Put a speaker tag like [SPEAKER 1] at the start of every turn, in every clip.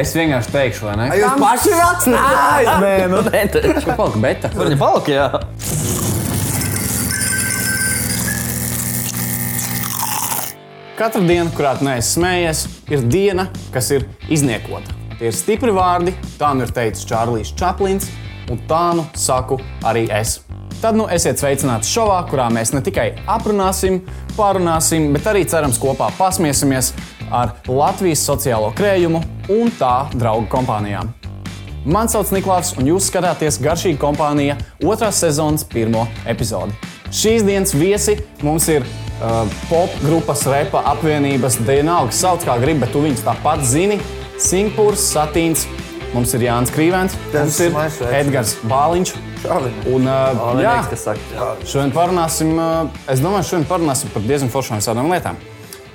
[SPEAKER 1] Es vienkārši teikšu, vai ne?
[SPEAKER 2] Ai, Jūs paši rakstāt?
[SPEAKER 3] Nē, nu.
[SPEAKER 4] Nē, tā-
[SPEAKER 1] Kā palika beta?
[SPEAKER 4] Tur viņa palika, jā.
[SPEAKER 3] Katra diena, kurā tu neesi smējies, ir diena, kas ir izniekota. Tie ir stipri vārdi, tā nu ir teicis Čārlis Čaklins, un tā nu saku arī es. Tad nu esiet sveicināti šovā, kurā mēs ne tikai aprunāsim, pārunāsim, bet arī cerams kopā pasmiesimies ar Latvijas sociālo krējumu un tā draugu kompānijām. Mani sauc Niklaus, un jūs skatāties garšīgi kompānija otrās sezonas pirmo epizodi. Šīs dienas viesi mums ir uh, popgrupas repa apvienības Dienāga. Sauc kā gribi, bet tu viņus tāpat zini. Singapūrs, Satīns, mums ir Jānis Krīvens, mums ir
[SPEAKER 2] mans veids.
[SPEAKER 3] Edgars Bāliņš. Un, uh,
[SPEAKER 4] Man
[SPEAKER 3] jā,
[SPEAKER 4] liekas, kas saka.
[SPEAKER 3] šodien parunāsim, uh, es domāju, šodien parunāsim par diezgan foršām visādām lietām.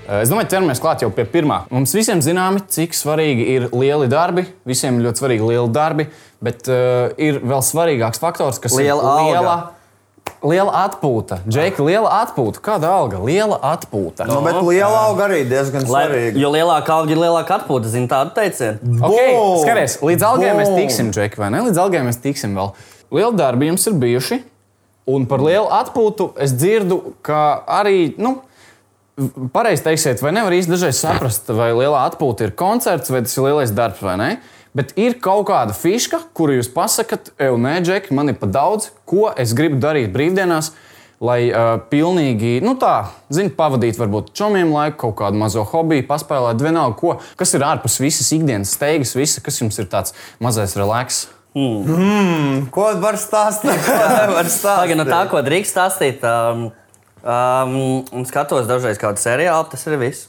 [SPEAKER 3] Uh, Es domāju, ķeramies klāt jau pie pirmā. Mums visiem zināmi, cik svarīgi ir lieli darbi. Visiem ir ļoti svarīgi lieli darbi, bet uh, ir vēl svarīgāks faktors, kas
[SPEAKER 4] Liela
[SPEAKER 3] ir
[SPEAKER 4] alga.
[SPEAKER 3] liela, liela atpūta. Džeki, liela atpūta. Kāda alga? Liela atpūta.
[SPEAKER 2] Nu, bet liela auga arī diezgan
[SPEAKER 4] Lai,
[SPEAKER 2] svarīga.
[SPEAKER 4] jo lielāka alga ir lielāka atpūta, zina tādu teicienu.
[SPEAKER 3] Okay,
[SPEAKER 2] Boom!
[SPEAKER 3] skaties, līdz algai mēs
[SPEAKER 2] Boom!
[SPEAKER 3] tiksim, Džeki, vai ne? Līdz algai mēs tiksim vēl. Lieli darbi jums ir bijuši, un par lielu atpūtu es dzirdu, ka arī. Nu, Pareizi teiksiet, vai nevar īsti dažreiz saprast, vai lielā atpūta ir koncerts, vai tas ir lielais darbs, vai nē. Bet ir kaut kāda fiška, kuru jūs pasakāt, ej, nē, Džek, man ir pa daudz, ko es gribu darīt brīvdienās, lai uh, pilnīgi, nu tā, zinu, pavadītu varbūt čomiem laiku, kaut kādu mazo hobiju, paspēlēt, vienalga, ko, kas ir ārpus visas ikdienas steigas, visa, kas jums ir tāds mazais relaks.
[SPEAKER 2] Ko var stāstīt? Ko nevar
[SPEAKER 4] Tagad no tā,
[SPEAKER 2] stāstīt?
[SPEAKER 4] ko drīkst stāstīt, um, um, un skatos dažreiz kādu seriālu, tas ir viss.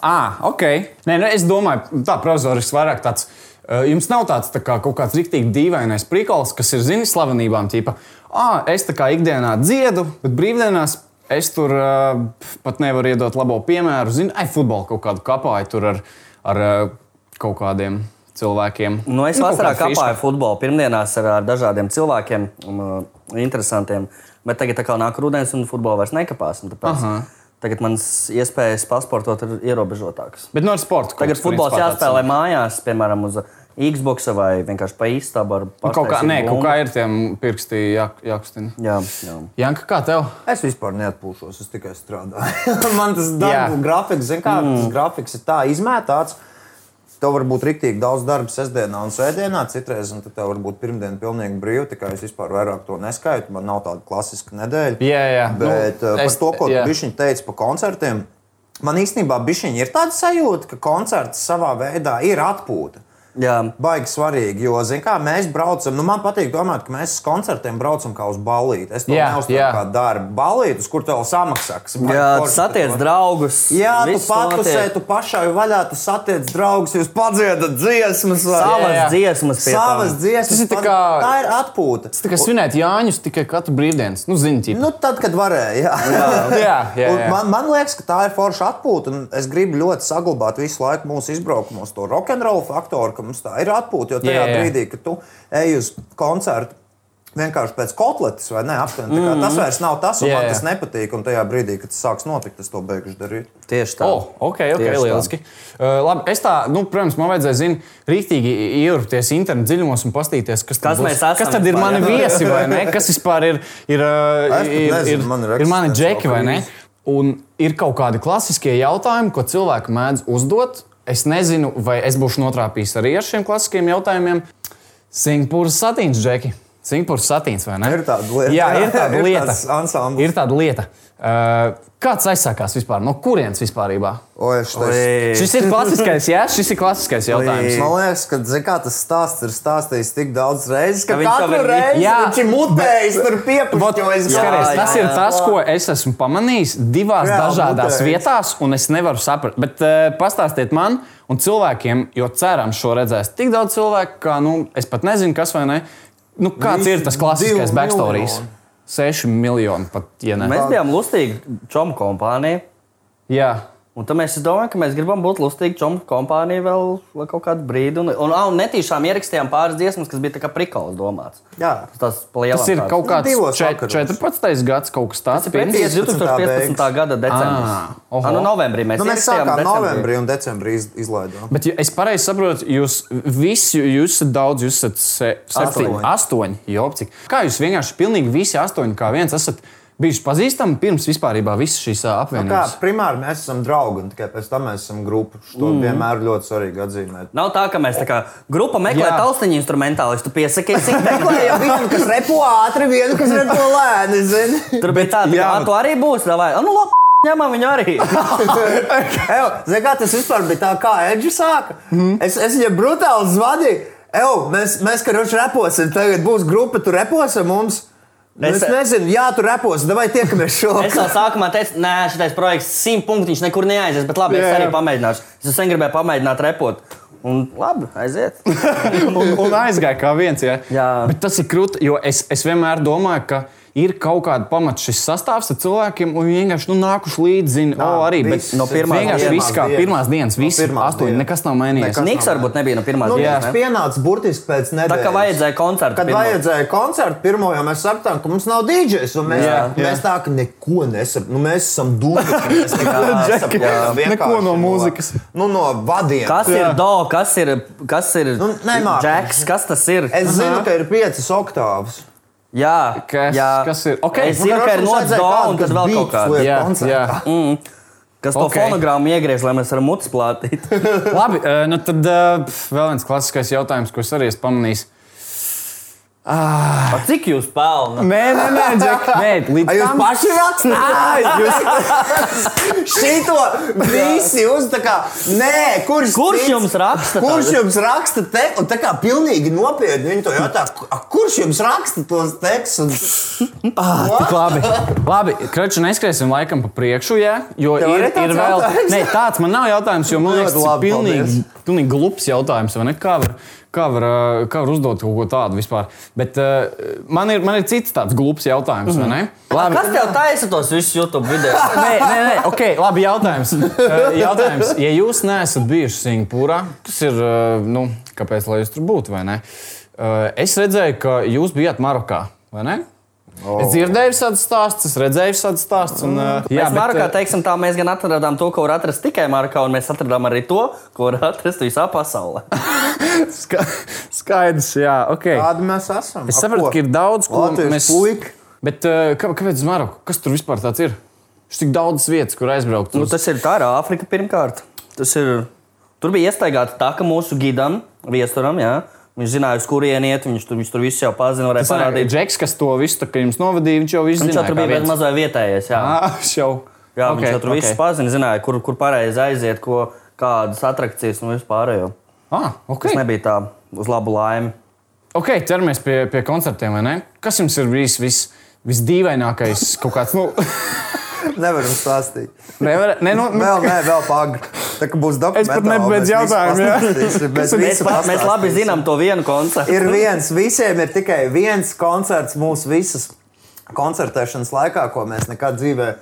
[SPEAKER 3] Ah, ok. Nē, nu, es domāju, tā prozorisks vairāk tāds. eh, Jums nav tāds tā kā, kaut kāds rīktīgi dīvainais prikals, kas ir zināms slavenībām. Tīpa, ah, es tā kā ikdienā dziedu, bet brīvdienās es tur uh, pat nevaru iedot labo piemēru. Zinu, ai, futbolu kaut kādu kapāju tur ar, ar eh, kaut kādiem cilvēkiem.
[SPEAKER 4] Nu, es
[SPEAKER 3] Nu, kaut
[SPEAKER 4] vasarā
[SPEAKER 3] kāda fiška.
[SPEAKER 4] kāpāju futbolu pirmdienās ar, ar dažādiem cilvēkiem, um, interesantiem. Bet tagad tā kā nāk rudens un futbolu vairs nekapās. un
[SPEAKER 3] Aha.
[SPEAKER 4] Tāpēc, tagad manas iespējas pasportot ir ierobežotākas.
[SPEAKER 3] Bet no ar sportu. kaut
[SPEAKER 4] Tagad
[SPEAKER 3] kas
[SPEAKER 4] futbols
[SPEAKER 3] principā tāds.
[SPEAKER 4] jāspēlē mājās, piemēram, uz Xbox vai vienkārši pa īstabu ar
[SPEAKER 3] Nu, Kaut kā,
[SPEAKER 4] pārtaisīt
[SPEAKER 3] nē, kaut
[SPEAKER 4] bumbu.
[SPEAKER 3] kā ir tiem pirkstī jā, jākustina.
[SPEAKER 4] Jā, jā.
[SPEAKER 3] Janka, kā tev?
[SPEAKER 2] Es vispār neatpūšos, es tikai strādāju. Man tas darba
[SPEAKER 3] Jā.
[SPEAKER 2] grafiks, zin kā, mm. tas grafiks ir tā izmētāts. Tev var būt rīktīgi daudz darba sestdienā un svētdienā, citreiz, un tad tev var būt pirmdiena pilnīgi brīva. Tikai es vispār vairāk to neskaitu. Man nav tāda klasiska nedēļa.
[SPEAKER 3] Jā, jā.
[SPEAKER 2] Bet
[SPEAKER 3] Nu,
[SPEAKER 2] nu, par
[SPEAKER 3] es-
[SPEAKER 2] es, to, ko
[SPEAKER 3] jā.
[SPEAKER 2] viņš teica par koncertiem, man īstenībā bišķiņ ir tāda sajūta, ka koncerts savā veidā ir atpūta.
[SPEAKER 4] jā.
[SPEAKER 2] Baigi svarīgi, jo, zinām, kā mēs braucam. Nu, man patīk domāt, ka mēs uz koncertiem braucam kā uz balīti. Es to
[SPEAKER 3] Jā,
[SPEAKER 2] neuzskatu
[SPEAKER 3] jā.
[SPEAKER 2] par darbu. Balīti, uz kur tev samaksā. kas man
[SPEAKER 4] jā
[SPEAKER 2] forši,
[SPEAKER 4] satiec
[SPEAKER 2] bet-
[SPEAKER 4] draugus.
[SPEAKER 2] Jā, tu
[SPEAKER 4] viss
[SPEAKER 2] patusē,
[SPEAKER 4] notiek.
[SPEAKER 2] tu pašā jau vaļā, tu satiec draugus, jūs padziedat dziesmas. vai-
[SPEAKER 4] Savas
[SPEAKER 3] Jā, jā.
[SPEAKER 4] dziesmas, pie
[SPEAKER 2] Savas
[SPEAKER 4] tām.
[SPEAKER 2] dziesmas.
[SPEAKER 3] Tas ir tā
[SPEAKER 2] pad-
[SPEAKER 3] kā-
[SPEAKER 2] tā ir atpūta.
[SPEAKER 3] Tā kā svinēt Jāņus tikai katru brīvdienu. Nu, zini, tīpa.
[SPEAKER 2] Nu, tad, kad varēja. Jā.
[SPEAKER 4] Nu,
[SPEAKER 3] jā, jā,
[SPEAKER 2] Un
[SPEAKER 3] jā.
[SPEAKER 2] Man, man liekas, ka tā ir forša atpūta. un Es gribu ļoti saglabāt visu laiku mūsu izbraukumos to rokenrola faktoru, ka mums tā ir atpūta. Jo tajā
[SPEAKER 3] Jā, jā.
[SPEAKER 2] brīdī, kad tu ej uz koncertu. Vienkārši pēc kotletes, vai ne? Aptuveni, tā kā tas vairs nav tas, un
[SPEAKER 3] Jā,
[SPEAKER 2] jā, man
[SPEAKER 3] Mm-hmm. jā.
[SPEAKER 2] tas nepatīk. Un tajā brīdī, kad tas sāks notikt, es to beigšu darīt.
[SPEAKER 4] Tieši tā.
[SPEAKER 3] Oh, ok, ok,
[SPEAKER 4] Tieši tā.
[SPEAKER 3] lieliski. Uh, labi, es tā, nu, protams, man vajadzēja, zinu, rīktīgi ierūpties interneta dziļumos un paskatīties, kas,
[SPEAKER 4] Kas
[SPEAKER 3] tad būs-
[SPEAKER 4] mēs esam
[SPEAKER 3] kas tad ir
[SPEAKER 4] vispār,
[SPEAKER 3] mani
[SPEAKER 4] jā?
[SPEAKER 3] viesi vai ne? Kas vispār ir, ir, uh,
[SPEAKER 2] Es pat
[SPEAKER 3] ir,
[SPEAKER 2] nezinu,
[SPEAKER 3] ir,
[SPEAKER 2] man ir
[SPEAKER 3] ir mani
[SPEAKER 2] eksistence
[SPEAKER 3] džeki vai ne?
[SPEAKER 2] krīze.
[SPEAKER 3] Un ir kaut kādi klasiskie jautājumi, ko cilvēki mēdz uzdot. Es nezinu, vai es būšu notrāpījis arī ar šiem klasiskiem jautājumiem. Singapūras satīns, Džeki. Singapūras satīns vai ne?
[SPEAKER 2] Ir tāda lieta.
[SPEAKER 3] Jā, ir tāda
[SPEAKER 2] Ir
[SPEAKER 3] lieta.
[SPEAKER 2] tāds ansamblis.
[SPEAKER 3] ir tāda lieta. Uh, kāds aizsākās vispār? No kurienes vispār?
[SPEAKER 2] O, es teicu,
[SPEAKER 4] Oi.
[SPEAKER 3] Šis ir klasiskais, jā, šis ir klasiskais jautājums.
[SPEAKER 2] Man liekas, ka zin kā, tas stāsts ir stāstījis tik daudz reizes, ka
[SPEAKER 4] Ka viņš jau
[SPEAKER 2] katru
[SPEAKER 4] ir-
[SPEAKER 2] reizi
[SPEAKER 3] Jā.
[SPEAKER 2] viņš ir mutējis, tur
[SPEAKER 3] Vot,
[SPEAKER 2] piepušķojis.
[SPEAKER 3] skaties,
[SPEAKER 4] jā,
[SPEAKER 3] tas
[SPEAKER 4] jā,
[SPEAKER 3] ir tas, ko es esmu pamanījis divās
[SPEAKER 2] Jā,
[SPEAKER 3] jā, dažādās
[SPEAKER 2] būtēji.
[SPEAKER 3] vietās, un es nevaru saprast. Bet uh, pastāstiet man un cilvēkiem, jo cerams, šo redzēs tik daudz cilvēku, ka nu, es pat nezinu, kas vai ne. Nu, kāds
[SPEAKER 2] Visi
[SPEAKER 3] ir tas klasiskais
[SPEAKER 2] divi
[SPEAKER 3] backstory?
[SPEAKER 2] miljoni.
[SPEAKER 3] Seši miljoni pat, ja ne.
[SPEAKER 4] Mēs bijām lustīgi čomu kompānija.
[SPEAKER 3] Jā.
[SPEAKER 4] Un tad mēs es domājam, ka mēs gribam būt lustīgi čompa kompānija vēl, vēl kaut kādu brīdi. Un, un, un, un netīšām ierakstījām pāris dziesmas, kas bija tā kā prikals domāts.
[SPEAKER 2] Jā.
[SPEAKER 4] Tas, lielam,
[SPEAKER 3] Tas ir
[SPEAKER 4] tāds-
[SPEAKER 3] kaut kāds
[SPEAKER 2] Divos
[SPEAKER 3] čet-
[SPEAKER 2] vakaros.
[SPEAKER 3] 14. gads, kaut kas tāds.
[SPEAKER 4] Pēc
[SPEAKER 2] 15.
[SPEAKER 4] 2015.
[SPEAKER 2] beigas.
[SPEAKER 4] gada decembris.
[SPEAKER 3] Ah, oho.
[SPEAKER 4] Ah, nu, novembrī mēs,
[SPEAKER 2] Nu, mēs
[SPEAKER 4] ierakstījām,
[SPEAKER 2] sākām
[SPEAKER 4] decembrī.
[SPEAKER 2] novembrī un decembrī iz, izlaidām.
[SPEAKER 3] Bet ja es pareizi saprotu, jūs visi jūs esat daudz, jūs esat se, septiņi,
[SPEAKER 2] Astoņi.
[SPEAKER 3] astoņi. Jopcik. Kā jūs vienkārši pilnīgi visi astoņi kā viens esat bijuši pazīstami pirms vispār visas šīs ā,
[SPEAKER 2] Kā,
[SPEAKER 3] apvienības?
[SPEAKER 2] primāri mēs esam draugi, un tikai pēc tam mēs esam grupa. To mm. vienmēr ļoti svarīgi atzīmēt.
[SPEAKER 4] Nav tā, ka mēs tā kā grupa meklē
[SPEAKER 3] Jā.
[SPEAKER 4] taustiņu instrumentālistu, piesakies, cik meklējam.
[SPEAKER 2] vienu, kas repo ātri, vienu, kas repo lēni, zini.
[SPEAKER 4] Tur bija tāda,
[SPEAKER 3] Jā,
[SPEAKER 4] ka "Ā,
[SPEAKER 3] nu-
[SPEAKER 4] tu arī būsi, vai? Nu, labi, ņemam viņu arī.
[SPEAKER 2] Evo, zini, kā tas vispār bija tā, kā Edži sāka? Mm. Es, es viņai brutāli zvadīju. Evo, mēs, mēs karoči reposim, tagad būs grupa, tu reposi mums. Nu,
[SPEAKER 4] Es-
[SPEAKER 2] Es, es nezinu, jā, tu reposi, vai tiekamies
[SPEAKER 4] Es
[SPEAKER 2] šodien.
[SPEAKER 4] jau sākumā teicu, nē, šis projekts simt punktiņš nekur neaizies, bet labi,
[SPEAKER 3] Jā,
[SPEAKER 4] es arī
[SPEAKER 3] jā.
[SPEAKER 4] pamēģināšu. Es sen gribēju pamēģināt repot. Un labi, aiziet.
[SPEAKER 2] Nu
[SPEAKER 3] un, un aizgāja kā viens. Ja?
[SPEAKER 4] Jā.
[SPEAKER 3] Bet tas ir krūti, jo es, es vienmēr domāju, ka ir kaut kāda pamata šis sastāvs ar cilvēkiem, un viņi vienkārši nu, nākuši līdzi. Zin,
[SPEAKER 2] Jā,
[SPEAKER 3] o, arī, bet
[SPEAKER 2] viss. No
[SPEAKER 4] pirmās
[SPEAKER 3] vienkārši
[SPEAKER 4] dienas.
[SPEAKER 3] viss kā pirmās dienas,
[SPEAKER 2] No
[SPEAKER 3] visi
[SPEAKER 2] pirmās
[SPEAKER 3] astoņi.
[SPEAKER 2] dienas.
[SPEAKER 3] Nekas nav mainījies.
[SPEAKER 2] Nekas.
[SPEAKER 4] Niks varbūt nebija no pirmās
[SPEAKER 2] Nu,
[SPEAKER 4] dienas.
[SPEAKER 2] viņš
[SPEAKER 4] ne?
[SPEAKER 2] pienāca burtiski pēc nedēļas.
[SPEAKER 4] Tā kā vajadzēja koncertu.
[SPEAKER 2] Kad
[SPEAKER 4] pirmo.
[SPEAKER 2] vajadzēja koncertu, pirmo jau mēs sapratām, ka mums nav DJs. un Mēs, jā,
[SPEAKER 4] Jā,
[SPEAKER 2] jā.
[SPEAKER 3] jā.
[SPEAKER 2] mēs tā kā neko nesaprotam. Nu, mēs esam dūmi. Mēs
[SPEAKER 3] Džeki,
[SPEAKER 2] nesaprotam.
[SPEAKER 3] neko
[SPEAKER 2] vienkārši
[SPEAKER 3] no mūzikas.
[SPEAKER 2] Nu, no vadiem.
[SPEAKER 4] Kas ir do, kas ir, kas ir
[SPEAKER 2] Nu, nemāku.
[SPEAKER 4] džeks, kas tas ir? Mhm.
[SPEAKER 2] Es zinu, ka ir piecas oktāvas.
[SPEAKER 4] Jā,
[SPEAKER 3] Kas-
[SPEAKER 4] jā.
[SPEAKER 3] kas ir? Ok.
[SPEAKER 4] Es zinu, ka ir nots do un tad vēl kaut kāda.
[SPEAKER 3] Jā, jā.
[SPEAKER 4] Kas to
[SPEAKER 3] Ok.
[SPEAKER 4] okay. fonogrammu iegriež, lai mēs varam mutes plātīt?
[SPEAKER 3] Labi, eh, nu tad eh, pf, vēl viens klasiskais jautājums, ko es arī esmu pamanījis.
[SPEAKER 4] Pa Cik jūs pelnāt?
[SPEAKER 3] Nē, nē, nē, Džek, nē
[SPEAKER 2] Ai,
[SPEAKER 3] līdz
[SPEAKER 2] jūs
[SPEAKER 3] tam
[SPEAKER 2] paši rakstāt? Šito visi uz tā kā, nē, kurš,
[SPEAKER 4] Kurš
[SPEAKER 2] tic?
[SPEAKER 4] jums raksta?
[SPEAKER 2] Kurš
[SPEAKER 4] tagad?
[SPEAKER 2] jums raksta te, un tā kā pilnīgi nopietni viņi to jautā, "Ku- a, kurš jums raksta tos tekstus? Un...
[SPEAKER 3] Tik labi. labi Kraču neskriesim laikam pa priekšu, jā, jo ir,
[SPEAKER 2] Tev arī tāds
[SPEAKER 3] ir vēl.
[SPEAKER 2] jautājums?
[SPEAKER 3] Nē, tāds man nav jautājums, jo man
[SPEAKER 2] Ļoti
[SPEAKER 3] liekas, tas ir
[SPEAKER 2] labi,
[SPEAKER 3] pilnīgi,
[SPEAKER 2] paldies.
[SPEAKER 3] pilnīgi glups jautājums. vai ne? Kā var, kā, var, ā, kā var uzdot kaut ko tādu vispār? Bet uh, man, ir, man ir cits tāds glups jautājums, vai
[SPEAKER 2] Mm.
[SPEAKER 3] ne? Labi.
[SPEAKER 4] Kas tev taisa tos visus YouTube video?
[SPEAKER 3] Nē, nē, nē, ok, labi, jautājums. Ā, jautājums. Ja jūs neesat bijuši Singapūrā, tas ir, ā, nu, kāpēc lai jūs tur būtu, vai ne? Ā, Es redzēju, ka jūs bijāt Marokā, vai ne? Oh. Es dzirdēju tādas stāstus, es redzēju tādas stāstus. Un, ā,
[SPEAKER 4] Jā,
[SPEAKER 3] jā, bet,
[SPEAKER 4] mēs
[SPEAKER 3] eh,
[SPEAKER 4] Markā
[SPEAKER 3] ā,
[SPEAKER 4] teiksim, tā mēs gan atradām to, ko var atrast tikai Markā, un mēs atradām arī to, ko var atrast visā pasaulē.
[SPEAKER 3] ska- skaidrs, jā, ok.
[SPEAKER 2] Kādi mēs esam?
[SPEAKER 3] Es saprotu, ka ir daudz, ko
[SPEAKER 2] Latviešu
[SPEAKER 3] mēs
[SPEAKER 2] puika.
[SPEAKER 3] Bet ā, kā- kāpēc uz Maroku? Kas tur vispār tāds ir? Ir tik daudz vietas, kur aizbraukt.
[SPEAKER 4] Nu,
[SPEAKER 3] uz-
[SPEAKER 4] tas ir tā, ir Āfrika pirmkārt. Tas ir. Tur bija iestaigāta tā, ka mūsu gidam, viesturam, jā, viņš zināja, uz kurien iet, viņš tur, viņš tur visu jau pazina, varēja
[SPEAKER 3] Tas ir
[SPEAKER 4] parādīt.
[SPEAKER 3] Džeks, kas to visu tā kā jums novadīja. Viņš jau visu
[SPEAKER 4] Viņš jau tur
[SPEAKER 3] kā
[SPEAKER 4] bija
[SPEAKER 3] viens.
[SPEAKER 4] viens mazā vietējais, jā.
[SPEAKER 3] Ah, es jau.
[SPEAKER 4] Jā, okay, viņš jau tur okay. viss pazina, zināja, kur, kur pareizi aiziet, ko, kādas atrakcijas un vispār.
[SPEAKER 3] Ah,
[SPEAKER 2] Hm.
[SPEAKER 4] Tas
[SPEAKER 3] okay.
[SPEAKER 4] nebija tā uz labu laimi.
[SPEAKER 3] ok, ķeramies pie, pie koncertiem. vai ne? Kas jums ir bijis vis, visdīvainākais? Kaut kāds, nu,
[SPEAKER 2] Nevaram stāstīt.
[SPEAKER 3] nevar, ne, nu, nu,
[SPEAKER 2] Vēl, nē, vēl pāri. Tā kā būs dokuments.
[SPEAKER 3] nebeidzu jautājumu, jā.
[SPEAKER 2] Mēs
[SPEAKER 4] Mēs,
[SPEAKER 2] visi
[SPEAKER 4] pa, mēs labi
[SPEAKER 2] pastāstīsim.
[SPEAKER 4] zinām to vienu koncertu.
[SPEAKER 2] Ir viens, visiem ir tikai viens koncerts mūsu visas koncertēšanas laikā, ko mēs nekad dzīvē.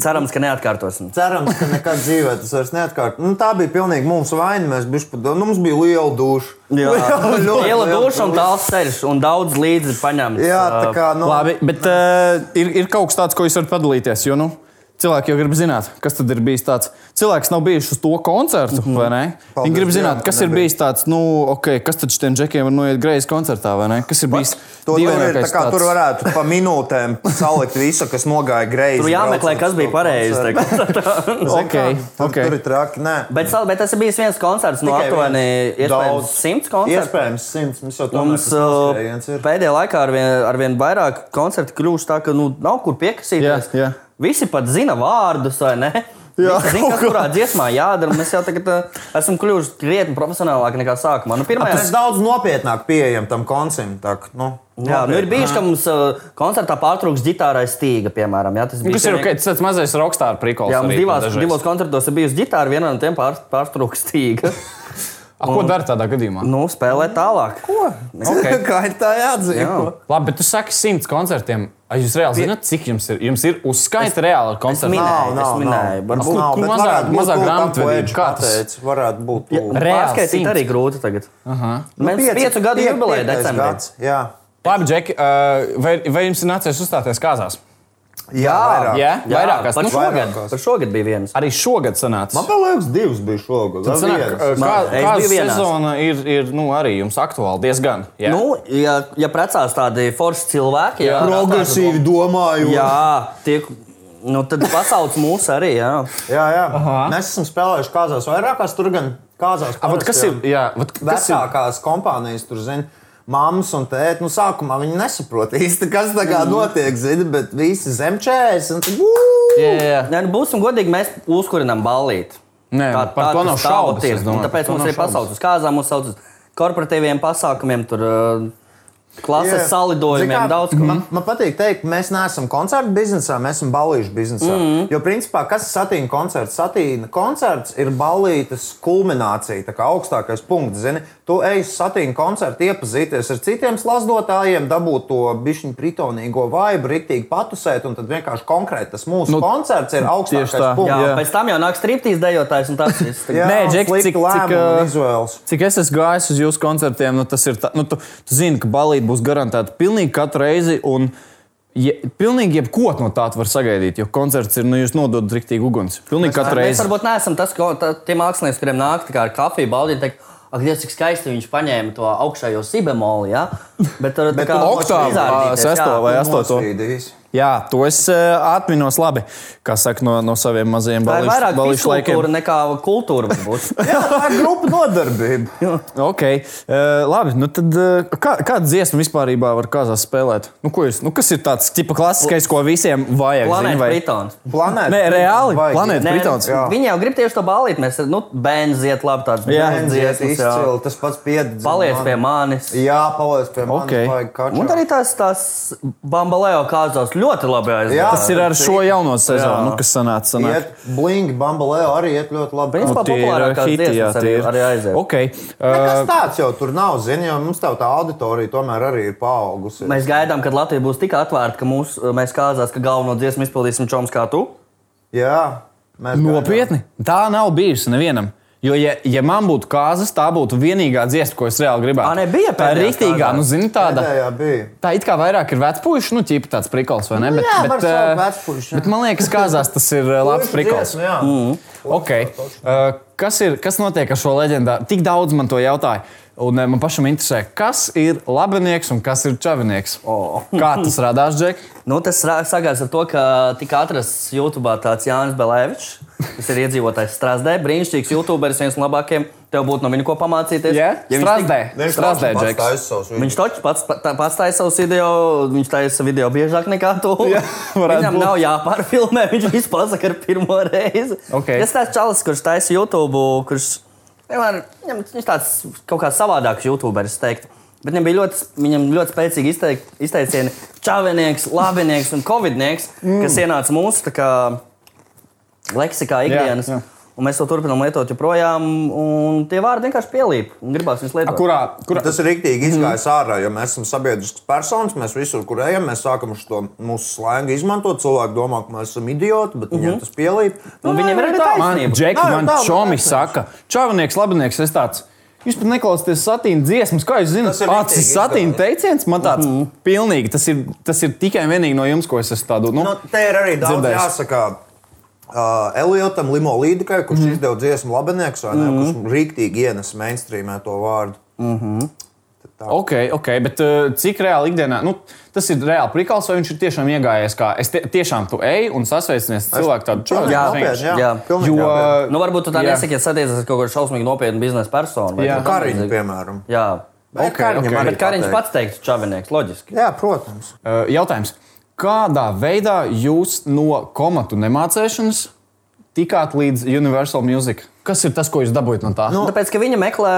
[SPEAKER 4] Cerams, ka neatkārtosim.
[SPEAKER 2] Cerams, ka nekad dzīvē tas vairs neatkārtojas. Nu, tā bija pilnīgi mūsu vaina. Mēs bijām pat, nu, mums bija liela duša. Liela- ļoti
[SPEAKER 4] liela
[SPEAKER 2] liela
[SPEAKER 4] duša un tāls ceļš, un daudz līdzi paņemts.
[SPEAKER 2] Jā, tā kā nu, no.
[SPEAKER 3] labi, bet uh, ir, ir kaut kas tāds, ko jūs varat padalīties. Jo, nu, cilvēki jau grib zināt, kas tad ir bijis tāds. Cilvēks nav bijis uz to koncertu, mm -hmm. vai ne? Paldies, Viņi grib
[SPEAKER 2] Mhm. Dievam,
[SPEAKER 3] zināt,
[SPEAKER 2] ka
[SPEAKER 3] kas ir
[SPEAKER 2] nebija.
[SPEAKER 3] bijis tāds, nu, ok, kas tad šiem džekiem var noiet greizi koncertā, vai ne? Kas ir bijis
[SPEAKER 2] To tur, ir, tā
[SPEAKER 3] dīvainākais?
[SPEAKER 2] kā,
[SPEAKER 3] tāds?
[SPEAKER 2] tur varētu pa minūtēm salikt visu, kas nogāja greizi.
[SPEAKER 4] Tur jāmeklē,
[SPEAKER 2] braucot
[SPEAKER 4] kas
[SPEAKER 2] uz
[SPEAKER 4] bija
[SPEAKER 2] to
[SPEAKER 4] pareizi.
[SPEAKER 2] koncertu.
[SPEAKER 4] tā kā.
[SPEAKER 2] Zini
[SPEAKER 3] Ok,
[SPEAKER 2] kā, tur-
[SPEAKER 3] ok.
[SPEAKER 2] Tur ir traki. Nē,
[SPEAKER 4] Bet, sal- bet tas ir bijis viens koncerts no
[SPEAKER 2] Tikai
[SPEAKER 4] aptuveni
[SPEAKER 2] viens. Daudz.
[SPEAKER 4] iespējams simts koncertu.
[SPEAKER 2] Iespējams, simts. Mums jau
[SPEAKER 4] Mums uh, pēdējā laikā ar vien, ar vien vairāk koncertu kļūst tā, ka nu, nav kur piekasīties.
[SPEAKER 3] Jā, jā.
[SPEAKER 4] Visi pat zina vārdus, vai ne? Jā, zinu, kas kurā dziesmā jādara. Mēs jau tagad uh, esam kļuvuši krietni profesionālāki nekā sākumā. Nu, pirmajā,
[SPEAKER 2] Mēs daudz nopietnāk pieejam tam koncim. Tā, kā, nu,
[SPEAKER 4] Jā, nu ir bijis, ka mums uh, koncertā pārtrūks ģitārai stīga, piemēram. Jā, tas bija
[SPEAKER 3] Tas Nu, ir ok, tas ir tāds mazais rokstāra prikols.
[SPEAKER 4] Jā, mums
[SPEAKER 3] arī
[SPEAKER 4] divās,
[SPEAKER 3] dažreiz.
[SPEAKER 4] divos koncertos ir bijusi ģitāra, viena no tiem pār, pārtrūks stīga.
[SPEAKER 3] A, Ko dara tādā gadījumā?
[SPEAKER 4] Nu, spēlē tālāk. Nu, Ko?
[SPEAKER 2] okay. Nu, kā ir tā jāatzīst?
[SPEAKER 4] Jā.
[SPEAKER 3] Labi, bet tu saki simts koncertiem. Ai, jūs reāli zināt, cik jums ir? Jums ir uzskaita reāli ar koncertu.
[SPEAKER 4] minēju.
[SPEAKER 2] Nav,
[SPEAKER 4] Es
[SPEAKER 2] nav,
[SPEAKER 4] minēju,
[SPEAKER 2] nav.
[SPEAKER 4] varbūt-
[SPEAKER 2] Varbūt nav,
[SPEAKER 3] Kur
[SPEAKER 2] bet
[SPEAKER 3] mazā-
[SPEAKER 2] varētu būt
[SPEAKER 3] mazā
[SPEAKER 2] tūlīt,
[SPEAKER 3] grāmatvedība,
[SPEAKER 2] apēdž,
[SPEAKER 3] kā tas-
[SPEAKER 2] pateicu, Varētu būt. tūlīt.
[SPEAKER 3] Reāli
[SPEAKER 4] Pārskaitīt
[SPEAKER 3] simts.
[SPEAKER 4] arī grūti tagad.
[SPEAKER 2] Nu,
[SPEAKER 4] Mēs
[SPEAKER 2] pieci-
[SPEAKER 4] piecu gadu
[SPEAKER 2] pie-
[SPEAKER 4] jubileju
[SPEAKER 2] piektais
[SPEAKER 4] decembrī.
[SPEAKER 2] gads, Jā,
[SPEAKER 3] Labi, Džeki, uh, vai, vai jums ir nācies uzstāties kāzās?
[SPEAKER 2] jā, vairāk.
[SPEAKER 3] Jā, vairākās.
[SPEAKER 4] par
[SPEAKER 3] Nu, šogad.
[SPEAKER 2] vairākās.
[SPEAKER 4] šogad. Par šogad bija viens.
[SPEAKER 3] Arī šogad sanāca.
[SPEAKER 2] Man liekas, divas bija šogad. vai
[SPEAKER 3] Tad sanāk,
[SPEAKER 2] viens?
[SPEAKER 3] ā, kā,
[SPEAKER 4] Man- es
[SPEAKER 3] kāda
[SPEAKER 4] biju vienās.
[SPEAKER 3] sezona ir, ir nu, arī jums aktuāla? Diezgan. Jā.
[SPEAKER 4] Nu, ja, ja precās tādi forši cilvēki, jā,
[SPEAKER 2] Progresīvi domāju.
[SPEAKER 4] Jā, tiek, nu, tad pasauc mūs arī. Jā.
[SPEAKER 2] jā, jā. Mēs esam spēlējuši kāzās vairākās tur gan kāzās.
[SPEAKER 3] A, vat kas
[SPEAKER 2] parasti,
[SPEAKER 3] ir? Jā, vat, kas ir?
[SPEAKER 2] vecākās kompānijas tur zina. Māmas un tēti, nu, sākumā viņi nesaprot īsti, kas tā kā notiek, zina, bet visi zem 40. un tad, "Ū!"
[SPEAKER 3] Jā, jā, jā.
[SPEAKER 4] Nē, nu, būsim godīgi, mēs uzkurinām ballīti.
[SPEAKER 3] Nē, par to
[SPEAKER 4] tas
[SPEAKER 3] nav
[SPEAKER 4] tauta
[SPEAKER 3] šaubas,
[SPEAKER 4] ir.
[SPEAKER 3] es domāju,
[SPEAKER 4] Un
[SPEAKER 3] par
[SPEAKER 4] Tāpēc
[SPEAKER 3] to
[SPEAKER 4] mums
[SPEAKER 3] nav
[SPEAKER 4] ir pasauc uz kāzām, mums sauc uz korporatīviem pasākumiem, tur ā, klases
[SPEAKER 2] Jā. Zini
[SPEAKER 4] salidojumiem,
[SPEAKER 2] kā,
[SPEAKER 4] daudz ko. Mhm.
[SPEAKER 2] Man, man patīk teikt, ka mēs neesam koncertu biznesā, mēs esam balīšu biznesā. Mm
[SPEAKER 4] Mhm.
[SPEAKER 2] -hmm. Jo, principā, kas ir satīna koncerts? Satīna koncerts ir balītas kulminācija, tā kā augstākais punkts. Zini, tu ej uz satīna koncertu, iepazīties ar citiem slazdotājiem, dabūt to bišķiņu pritonīgo vaibu, riktīgi patusēt, un tad vienkārši konkrēti tas mūsu nu, koncerts ir augstākais
[SPEAKER 3] tā,
[SPEAKER 2] tā, punkts.
[SPEAKER 4] Jā,
[SPEAKER 3] Jā.
[SPEAKER 4] jā. Pēc tam jau nāk striptīs dejotājs un tas viss.
[SPEAKER 2] Jā,
[SPEAKER 3] Nē,
[SPEAKER 2] un
[SPEAKER 3] Džek,
[SPEAKER 2] slikti
[SPEAKER 3] cik- cik,
[SPEAKER 2] lēmumi
[SPEAKER 3] uh,
[SPEAKER 2] un izvēles.
[SPEAKER 3] Cik es esmu gājis uz jūsu koncertiem, nu, tas ir. Tā, nu, tu, tu zini, ka balīti būs garantēti pilnīgi katru reizi. Un, je, pilnīgi jebko no tā tu var sagaidīt, jo koncerts ir, nu, jūs nododat rīktīgi uguns. Pilnīgi katru
[SPEAKER 4] Mēs
[SPEAKER 3] reizi.
[SPEAKER 4] varbūt neesam tas, ko tā, tie mākslinieki, kuriem nāk tā kā ar kafiju, baudīt. Ak, Dievs, cik skaisti viņš paņēma to augšējo sibemoli. Ja? Bet tur
[SPEAKER 2] Bet
[SPEAKER 4] tā kā
[SPEAKER 2] tu
[SPEAKER 3] nu, oktāvu,
[SPEAKER 4] izrādīties,
[SPEAKER 3] ā, sesto
[SPEAKER 4] jā.
[SPEAKER 3] vai astoto?
[SPEAKER 2] Nosvīdīs.
[SPEAKER 3] Jā, to es uh, atminos labi, kā saka, no, no saviem mazajiem
[SPEAKER 4] Tā ir vairāk
[SPEAKER 3] balīšu laikiem.
[SPEAKER 4] kultūra nekā kultūra. varbūt.
[SPEAKER 2] Jā, tā ir grupa nodarbība.
[SPEAKER 3] Okay. Uh, labi, nu tad uh, kā, kāda dziesma vispār var kāzās spēlēt? Nu, ko jūs, nu, kas ir tāds tipa klasiskais, ko visiem vajag? zini,
[SPEAKER 4] Planēta
[SPEAKER 3] vai-
[SPEAKER 4] Britons.
[SPEAKER 2] Planēta.
[SPEAKER 3] Nē, reāli,
[SPEAKER 2] Vajag.
[SPEAKER 3] planēta.
[SPEAKER 4] Nē,
[SPEAKER 3] Britons,
[SPEAKER 2] jā.
[SPEAKER 4] Viņi jau grib tieši to balīt. Mēs nu, bērns iet labi tāds
[SPEAKER 3] Jā.
[SPEAKER 4] bērns
[SPEAKER 2] Dziesmas,
[SPEAKER 4] dziesmas, jā.
[SPEAKER 2] izcili, tas pats pieredzējis.
[SPEAKER 4] Paliec pie manis.
[SPEAKER 2] Jā, paliec pie manis.
[SPEAKER 3] Okei.
[SPEAKER 2] vajag kaču.
[SPEAKER 4] Un arī tās, tās bambalējo kāzās ļoti labi
[SPEAKER 2] Jā.
[SPEAKER 4] aizgāja.
[SPEAKER 3] Tas ir ar šo jauno sezonu, nu, kas sanāca. sanāca.
[SPEAKER 2] Iet, Blink, Bambalēja arī iet ļoti labi.
[SPEAKER 4] Principā-
[SPEAKER 2] Nu,
[SPEAKER 3] Tie ir
[SPEAKER 4] populārākās
[SPEAKER 3] hiti, jā, tie
[SPEAKER 4] dziesmas arī-
[SPEAKER 3] ir.
[SPEAKER 4] arī aiziet.
[SPEAKER 3] Okay.
[SPEAKER 2] Nekas
[SPEAKER 3] Uh,
[SPEAKER 2] tāds jau tur nav, zini, jo mums tev tā auditorija tomēr arī ir paaugusi.
[SPEAKER 4] Mēs gaidām, kad Latvija būs tik atvērta, ka mūs, mēs kāzās, ka galveno dziesmu izpildīsim Čoms kā tu.
[SPEAKER 2] Jā, mēs gaidām.
[SPEAKER 3] nopietni. Tā nav bijusi nevienam. Jo, ja, ja man būtu kāzas, tā būtu vienīgā dziesma, ko es reāli gribētu.
[SPEAKER 4] Ā, ne, bija
[SPEAKER 3] tā ir
[SPEAKER 4] pēdējās
[SPEAKER 3] rītīgā,
[SPEAKER 4] kāzās.
[SPEAKER 3] nu, zini, tāda.
[SPEAKER 2] Pēdējā bija.
[SPEAKER 3] Tā it kā vairāk ir vecpuļš, nu, tīpa tāds prikals, vai ne?
[SPEAKER 2] Nu, jā, var
[SPEAKER 3] eh,
[SPEAKER 2] saukt vecpuļš, jā.
[SPEAKER 3] bet man liekas, kāzās tas ir eh, labs
[SPEAKER 2] Puiši
[SPEAKER 3] prikals. Mm.
[SPEAKER 2] dziesma, jā.
[SPEAKER 3] Okay. Uh, kas, ir, kas notiek ar šo leģendu? Tik daudz man to jautāja. Un eh, man pašam interesē, kas ir labinieks un kas ir čavinieks.
[SPEAKER 4] O.
[SPEAKER 3] Kā tas radās, Džek?
[SPEAKER 4] Nu, tas ra- sākās ar to, ka tika atrasts YouTube tāds Jānis Belēvičs, kas ir iedzīvotājs Strasdē. Brīnišķīgs YouTuberis, viens no labākajiem. Tev būtu no viņa ko pamācīties. viņš
[SPEAKER 3] strādē.
[SPEAKER 2] Viņš
[SPEAKER 3] Strādē,
[SPEAKER 2] pats
[SPEAKER 3] Džeks.
[SPEAKER 2] taisa savus
[SPEAKER 4] Viņš taču pats, pa- tā- pats taisa savus video, viņš taisa video biežāk nekā tu.
[SPEAKER 3] Jā, varētu
[SPEAKER 4] Viņam
[SPEAKER 3] būt.
[SPEAKER 4] nav jāpārfilmē, viņš visu pasaka ar pirmo reizi.
[SPEAKER 3] Ok.
[SPEAKER 4] Tas tāds čalis, kurš taisa YouTube, kurš vienmēr, viņam, viņš tāds kaut kā savādāks YouTuberis, es teiktu. Bet viņam bija ļoti, viņam ļoti spēcīgi izteik, izteicieni čavinieks, labinieks un covidnieks, mm. kas ienāca mūsu tā kā leksikā ikdienas.
[SPEAKER 3] jā.
[SPEAKER 4] Un mēs to turpinām lietot joprojām, un tie vārdi vienkārši pielīp. un Gribās viņus lietot.
[SPEAKER 3] Kurā? kurā?
[SPEAKER 2] Nu, Tas ir rīktīgi
[SPEAKER 3] Mhm.
[SPEAKER 2] izgājis mm. ārā, jo mēs esam sabiedriskas personas. Mēs visur, kur ejam, mēs sākam uz to mūsu slēngu izmantot. Cilvēki domā, ka mēs esam idioti, bet
[SPEAKER 3] Mhm.
[SPEAKER 2] viņiem tas pielīp.
[SPEAKER 3] Nu,
[SPEAKER 2] Nu,
[SPEAKER 4] Un viņiem ir arī
[SPEAKER 2] tā.
[SPEAKER 4] taisnība.
[SPEAKER 3] Man,
[SPEAKER 4] taisnība.
[SPEAKER 3] Džeki,
[SPEAKER 2] Nā,
[SPEAKER 3] man
[SPEAKER 2] tā,
[SPEAKER 3] čomi
[SPEAKER 2] taisnība.
[SPEAKER 3] saka, čavinieks, labinieks, es tāds. Jūs pat neklausāties satīna dziesmas, kā jūs zināt,
[SPEAKER 2] Tas ir
[SPEAKER 3] tas ir
[SPEAKER 2] rīktīgi
[SPEAKER 3] satīna
[SPEAKER 2] izdomāts.
[SPEAKER 3] teiciens. Man tāds
[SPEAKER 4] Mhm.
[SPEAKER 3] mm -hmm. pilnīgi, tas ir, tas ir tikai un vienīgi no jums, ko es esmu tādu. Nu,
[SPEAKER 2] Nu, te ir arī daudz
[SPEAKER 3] dzirdējis.
[SPEAKER 2] Dzirdēs. jāsaka. Uh, Eliotam Limo Līdekai, kurš
[SPEAKER 3] Mhm.
[SPEAKER 2] mm. izdeva dziesmu Labanēks, mm -hmm. kurš rīktīgi ienes mainstreamē to vārdu.
[SPEAKER 3] Mhm. Ok, ok, bet uh, cik reāli ikdienā, nu, tas ir reāli prikals, vai viņš ir tiešām iegājies kā es te, tiešām tu ej un sasveicinies ar cilvēku tādu čavu.
[SPEAKER 4] Jā,
[SPEAKER 2] nopietni, jā,
[SPEAKER 4] jā.
[SPEAKER 2] pilnīgi
[SPEAKER 3] Jo,
[SPEAKER 2] nopietni.
[SPEAKER 4] Nu, varbūt tu tā
[SPEAKER 3] Jā.
[SPEAKER 4] nesaki, ja satiekas ar kaut kādu šausmīgu nopietnu biznesa personu. vai
[SPEAKER 3] Jā.
[SPEAKER 4] kaut kā
[SPEAKER 2] Kariņš,
[SPEAKER 4] līdzīga.
[SPEAKER 2] piemēram.
[SPEAKER 4] Jā,
[SPEAKER 2] Bet
[SPEAKER 3] Ok,
[SPEAKER 2] Kariņam
[SPEAKER 3] ok.
[SPEAKER 2] arī
[SPEAKER 4] bet kā viņš
[SPEAKER 2] pateikt.
[SPEAKER 4] pats teiks, čavinieks, loģiski.
[SPEAKER 2] Jā, protams.
[SPEAKER 3] Uh, jautājums. Kādā veidā jūs no komatu nemācēšanas tikāt līdz Universal Music? Kas ir tas, ko jūs dabūjāt no tā?
[SPEAKER 4] Nu, Tāpēc, ka viņa meklē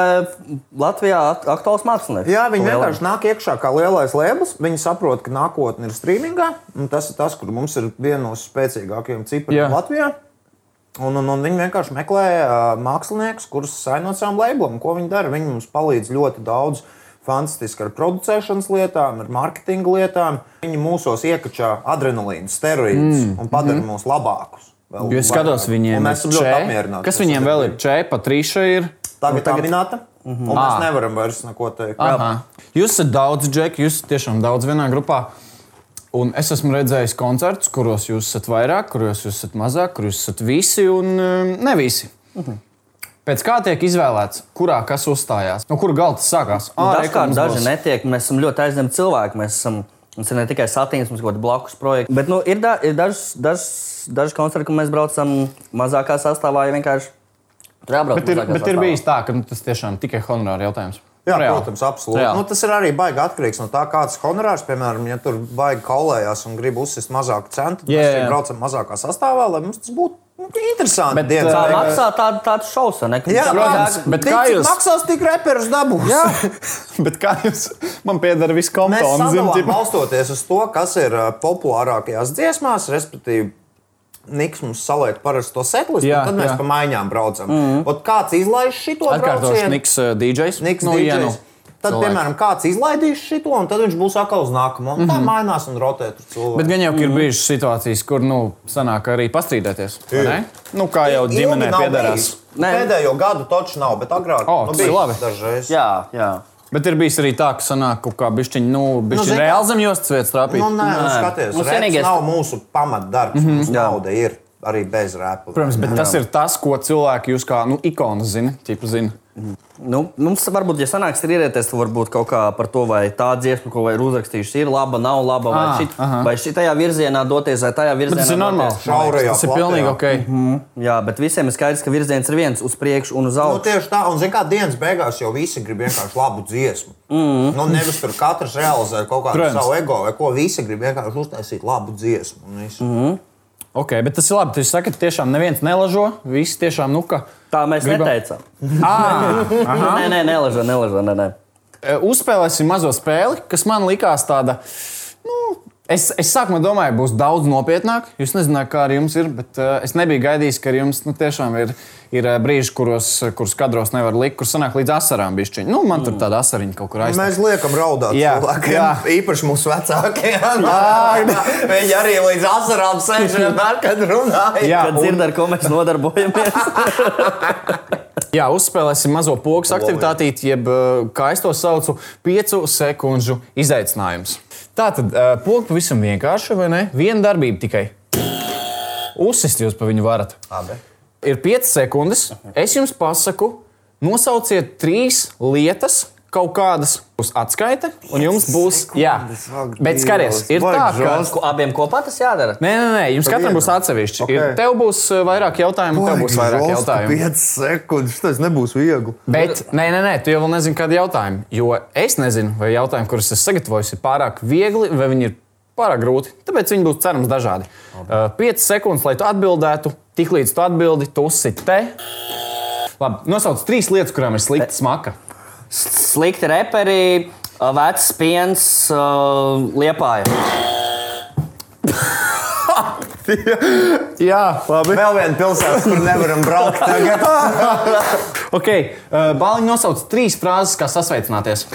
[SPEAKER 4] Latvijā at- aktuālus māksliniekus.
[SPEAKER 2] Jā, viņi
[SPEAKER 4] Lielam.
[SPEAKER 2] vienkārši nāk iekšā kā lielais lēmums. Viņi saprot, ka nākotne ir streamingā. un Tas ir tas, kur mums ir viena no
[SPEAKER 3] Jā.
[SPEAKER 2] spēcīgākajiem cipriem Latvijā. Un, un, un viņi vienkārši meklē uh, māksliniekus, kurus saino savām labelēm. Ko viņi dara? Viņi mums palīdz ļoti daudz. fantastiski ar producēšanas lietām, ar mārketinga lietām. Viņi mūsos iekačā adrenalīnu, steroīdus mm. un padara mm -hmm. mūs labākus. vēl
[SPEAKER 3] Mhm. Jo es skatos,
[SPEAKER 2] vairāk.
[SPEAKER 3] viņiem
[SPEAKER 2] Un Mēs esam
[SPEAKER 3] ir
[SPEAKER 2] ļoti
[SPEAKER 3] Če.
[SPEAKER 2] apmierināti.
[SPEAKER 3] Kas viņiem vēl ir? Čē, Patrīša ir. Nu,
[SPEAKER 2] Tagad tā minēta. Un mēs nevaram vairs neko teikt.
[SPEAKER 3] Ah. Aha. Jūs esat daudz, Džek, jūs esat tiešām daudz vienā grupā. Un es esmu redzējis koncertus, kuros jūs esat vairāk, kuros jūs esat mazāk, kuros jūs esat visi un um, ne visi.
[SPEAKER 2] Mhm.
[SPEAKER 3] Pēc kā tiek izvēlēts, kurā kas uzstājās, no kuras galda tas sākās? Ā, re, ka
[SPEAKER 4] Nu, Dažkārt
[SPEAKER 3] mums
[SPEAKER 4] daži
[SPEAKER 3] būs.
[SPEAKER 4] netiek, mēs esam ļoti aizņemti cilvēki. Mēs esam, mums ir ne tikai satīns, mums ir kaut kāda blakus projekta. Bet nu, ir, da, ir dažs, dažs, dažs koncerts, kur mēs braucam mazākā sastāvā, ja vienkārši tur jābrauc.
[SPEAKER 3] Bet ir,
[SPEAKER 4] mazākā
[SPEAKER 3] bet ir
[SPEAKER 4] sastāvā.
[SPEAKER 3] bijis tā, ka nu, tas tiešām tikai honorāra jautājums.
[SPEAKER 2] Jā,
[SPEAKER 3] Reāli.
[SPEAKER 2] protams, absolūti.
[SPEAKER 3] Reāli.
[SPEAKER 2] Nu, tas ir arī baigi atkarīgs no tā, kāds ir honorārs. Piemēram, ja tur baigi kaulējās un grib uzsist mazāku centu, tad
[SPEAKER 3] Jā,
[SPEAKER 2] mēs
[SPEAKER 3] jā.
[SPEAKER 2] šeit braucam mazākā sastāvā, lai mums tas būtu nu, interesanti.
[SPEAKER 3] Bet,
[SPEAKER 2] dienas
[SPEAKER 3] uh,
[SPEAKER 4] Tā
[SPEAKER 2] beigās.
[SPEAKER 4] maksā tādu tādu šausmu, vai ne? Ka
[SPEAKER 2] Jā,
[SPEAKER 4] tā-
[SPEAKER 2] protams,
[SPEAKER 3] bet
[SPEAKER 2] bet
[SPEAKER 3] kā
[SPEAKER 2] kā
[SPEAKER 3] jūs-
[SPEAKER 2] jūs maksās, tik reperis dabūs? Jā,
[SPEAKER 3] Bet kā jūs man piedarāt visu
[SPEAKER 2] mēs
[SPEAKER 3] kontonu? zini,
[SPEAKER 2] sadalām
[SPEAKER 3] ģip-
[SPEAKER 2] balstoties uz to, kas ir ā, populārākajās dziesmās, respektīvi. Niks mums saliek parasti to setlis,
[SPEAKER 3] Jā,
[SPEAKER 2] un tad mēs
[SPEAKER 3] jā.
[SPEAKER 2] pa maiņām braucam. Mm -hmm. Kāds izlaiž šo
[SPEAKER 3] Atkārtošu,
[SPEAKER 2] braucienu?
[SPEAKER 3] Niks, uh, DJs.
[SPEAKER 2] Niks
[SPEAKER 3] Nu,
[SPEAKER 2] nu,
[SPEAKER 3] ja nu.
[SPEAKER 2] DJs. Tad,
[SPEAKER 3] Cilvēki.
[SPEAKER 2] piemēram, kāds izlaidīs šo, un tad viņš būs atkal uz nākamo. Un tā mainās un rotē tur
[SPEAKER 3] Mhm. Bet
[SPEAKER 2] cilvēku.
[SPEAKER 3] gan jau ka ir bijušas situācijas, kur nu, sanāk arī pastrīdēties. vai ne? Nu, kā jau ģimenē piedarās.
[SPEAKER 4] Nē.
[SPEAKER 2] Pēdējo gadu taču nav, bet agrāk nu,
[SPEAKER 3] O, tas ir
[SPEAKER 2] bija
[SPEAKER 3] labi.
[SPEAKER 2] Dažreiz.
[SPEAKER 4] Jā, jā.
[SPEAKER 3] Bet ir bijis arī tā, ka sanāk kaut kā bišķiņa, nu, bišķiņa
[SPEAKER 2] zini,
[SPEAKER 3] nu, reāli zem jostas vietas trāpīt.
[SPEAKER 2] Nu, nē, nē.
[SPEAKER 4] Nē.
[SPEAKER 2] skaties,
[SPEAKER 4] Mums
[SPEAKER 2] tas
[SPEAKER 4] vienīgais- Mhm.
[SPEAKER 2] vienīgais... nav mūsu pamatdarbs. Mm -hmm. Mums
[SPEAKER 4] Jā.
[SPEAKER 2] nauda ir arī bez Nu, rēpa.
[SPEAKER 3] Protams, bet tas ir tas, ko cilvēki jūs kā nu, ikonas zina. Tipu, zina.
[SPEAKER 4] Nu, mums varbūt, ja sanāks rīrēties, tad varbūt kaut kā par to, vai tā dziesma, ko vai ir uzrakstījuši, ir laba, nav laba, vai,
[SPEAKER 3] Ah,
[SPEAKER 4] šit,
[SPEAKER 3] aha.
[SPEAKER 4] vai šī tajā virzienā doties, vai tajā virzienā.
[SPEAKER 3] Bet tas ir normāli.
[SPEAKER 4] doties. Mm,
[SPEAKER 3] man liekas.
[SPEAKER 2] Šaurajā
[SPEAKER 3] Tas ir
[SPEAKER 2] platejā.
[SPEAKER 3] pilnīgi ok.
[SPEAKER 4] Jā, bet visiem ir skaidrs, ka virziens ir viens uz priekšu un uz
[SPEAKER 2] Nu,
[SPEAKER 4] augšu.
[SPEAKER 2] tieši tā, un zina, kā dienas beigās jau visi grib vienkārši labu dziesmu. Mm
[SPEAKER 4] Mhm.
[SPEAKER 2] -hmm. nu, nevis tur katrs realizē kaut kādu
[SPEAKER 3] Protams.
[SPEAKER 2] Protams. savu ego, vai ko visi grib vienkārši uztaisīt labu dziesmu. un visu.
[SPEAKER 3] Ok, bet tas ir labi. Jūs sakat, tiešām neviens nelažo. Visi tiešām nu, ka.
[SPEAKER 4] Tā mēs
[SPEAKER 3] Gribam-
[SPEAKER 4] Gribam. neteicām.
[SPEAKER 3] Ā, aha.
[SPEAKER 4] Nē, nē, nelažo, nelažo. Nē, nē.
[SPEAKER 3] E, Uzspēlēsim mazo spēli, kas man likās tāda. Nu, es, es sākumā domāju, būs daudz nopietnāk. Jūs nezināt, kā ar jums ir, bet uh, es nebiju gaidījis, ka ar jums nu, tiešām ir, ir ē, brīži, kuros, kuros kadros nevar likt, kur sanāk līdz asarām. bišķiņ. Nu, man tur tāda asariņa kaut kur aizsākās.
[SPEAKER 2] Mēs liekam, raudāt.
[SPEAKER 3] Jā,
[SPEAKER 2] Jā, cilvēkiem,
[SPEAKER 3] jā.
[SPEAKER 2] jā. īpaši mūsu vecākiem. Viņi arī līdz asarām sēž vienmēr, kad runāja.
[SPEAKER 3] Jā,
[SPEAKER 4] Kad
[SPEAKER 3] un-
[SPEAKER 4] dzird, ar ko mēs nodarbojamies.
[SPEAKER 3] Jā, uzspēlēsim mazo pogas aktivitāti, jeb, eh, kā es to saucu, piecu sekundžu izaicinājums. Tā tad eh, poga pavisam vienkārša, vai ne? Viena darbība tikai. Uzsist jūs pa viņu varat.
[SPEAKER 2] Labi.
[SPEAKER 3] Ir 5 sekundes. Es jums pasaku, nosauciet trīs lietas. Kaut kādas būs atskaite, un jums būs. Jā,
[SPEAKER 2] sekundes, ak,
[SPEAKER 3] bet skaties,
[SPEAKER 2] Dievs,
[SPEAKER 3] ir
[SPEAKER 2] vai
[SPEAKER 3] tā, ka.
[SPEAKER 2] žēl.
[SPEAKER 4] Ko Abiem kopā tas jādara.
[SPEAKER 3] Nē, nē, nē, jums katram
[SPEAKER 2] vienu?
[SPEAKER 3] būs atsevišķi. Okay.
[SPEAKER 2] Ok.
[SPEAKER 3] Tev būs eh, vairāk
[SPEAKER 2] Nu,
[SPEAKER 3] jautājumu, tev būs vairāk jautājumu.
[SPEAKER 2] 5 sekundes. Tas nebūs viegli.
[SPEAKER 3] Bet, nē, nē, nē, tu jau vēl nezini, kādi jautājumi. Jo es nezinu, vai jautājumi, kurus es sagatavoju, ir pārāk viegli vai viņi ir pārāk grūti. Tāpēc viņi būs cerams dažādi. Uh, Piecas sekundes, lai tu atbildētu, tiklīdz tu atbildi, tu uzsit te. Labi, nosauc trīs lietas, kurām ir slikta smaka.
[SPEAKER 4] Slikti reperi, vecs piens, liepāja.
[SPEAKER 3] Jā, labi.
[SPEAKER 2] Vēl viena pilsēta, kur nevaram braukt. Tagad.
[SPEAKER 3] Okay. Uh, Bāliņš nosauc trīs frāzes, kā sasveicināties.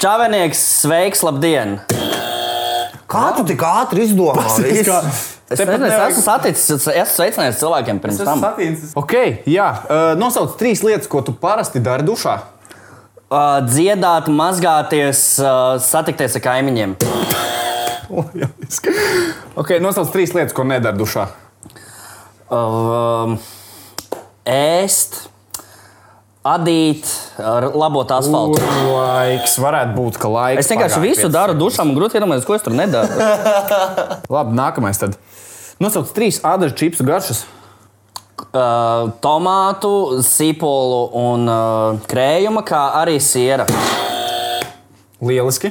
[SPEAKER 4] Čāvenieks, sveiks, labdien!
[SPEAKER 2] Kā tu tik ātri izdomāji?
[SPEAKER 4] Es,
[SPEAKER 3] Tepat
[SPEAKER 4] nezinu,
[SPEAKER 3] nevajag-
[SPEAKER 4] es esmu saticis, es esmu sveicinājis cilvēkiem pirms tam.
[SPEAKER 3] Okay, jā, uh, nosauc trīs lietas, ko tu parasti dari dušā.
[SPEAKER 4] Uh, dziedāt, mazgāties, uh, satikties ar kaimiņiem.
[SPEAKER 3] Okay, nosauc trīs lietas, ko nedari dušā.
[SPEAKER 4] Uh, ēst, adīt, ar- labot asfaltu.
[SPEAKER 3] Laiks varētu būt, ka laiks.
[SPEAKER 4] Es vienkārši
[SPEAKER 3] pagāja
[SPEAKER 4] visu
[SPEAKER 3] piecas
[SPEAKER 4] daru dušām, un grūti iedomāties, ko es tur nedaru.
[SPEAKER 3] Labi, nākamais. Tad. Nosauc trīs ādas čipsu garšas.
[SPEAKER 4] Uh, tomātu, sīpolu un uh, krējuma, kā arī siera.
[SPEAKER 3] Lieliski.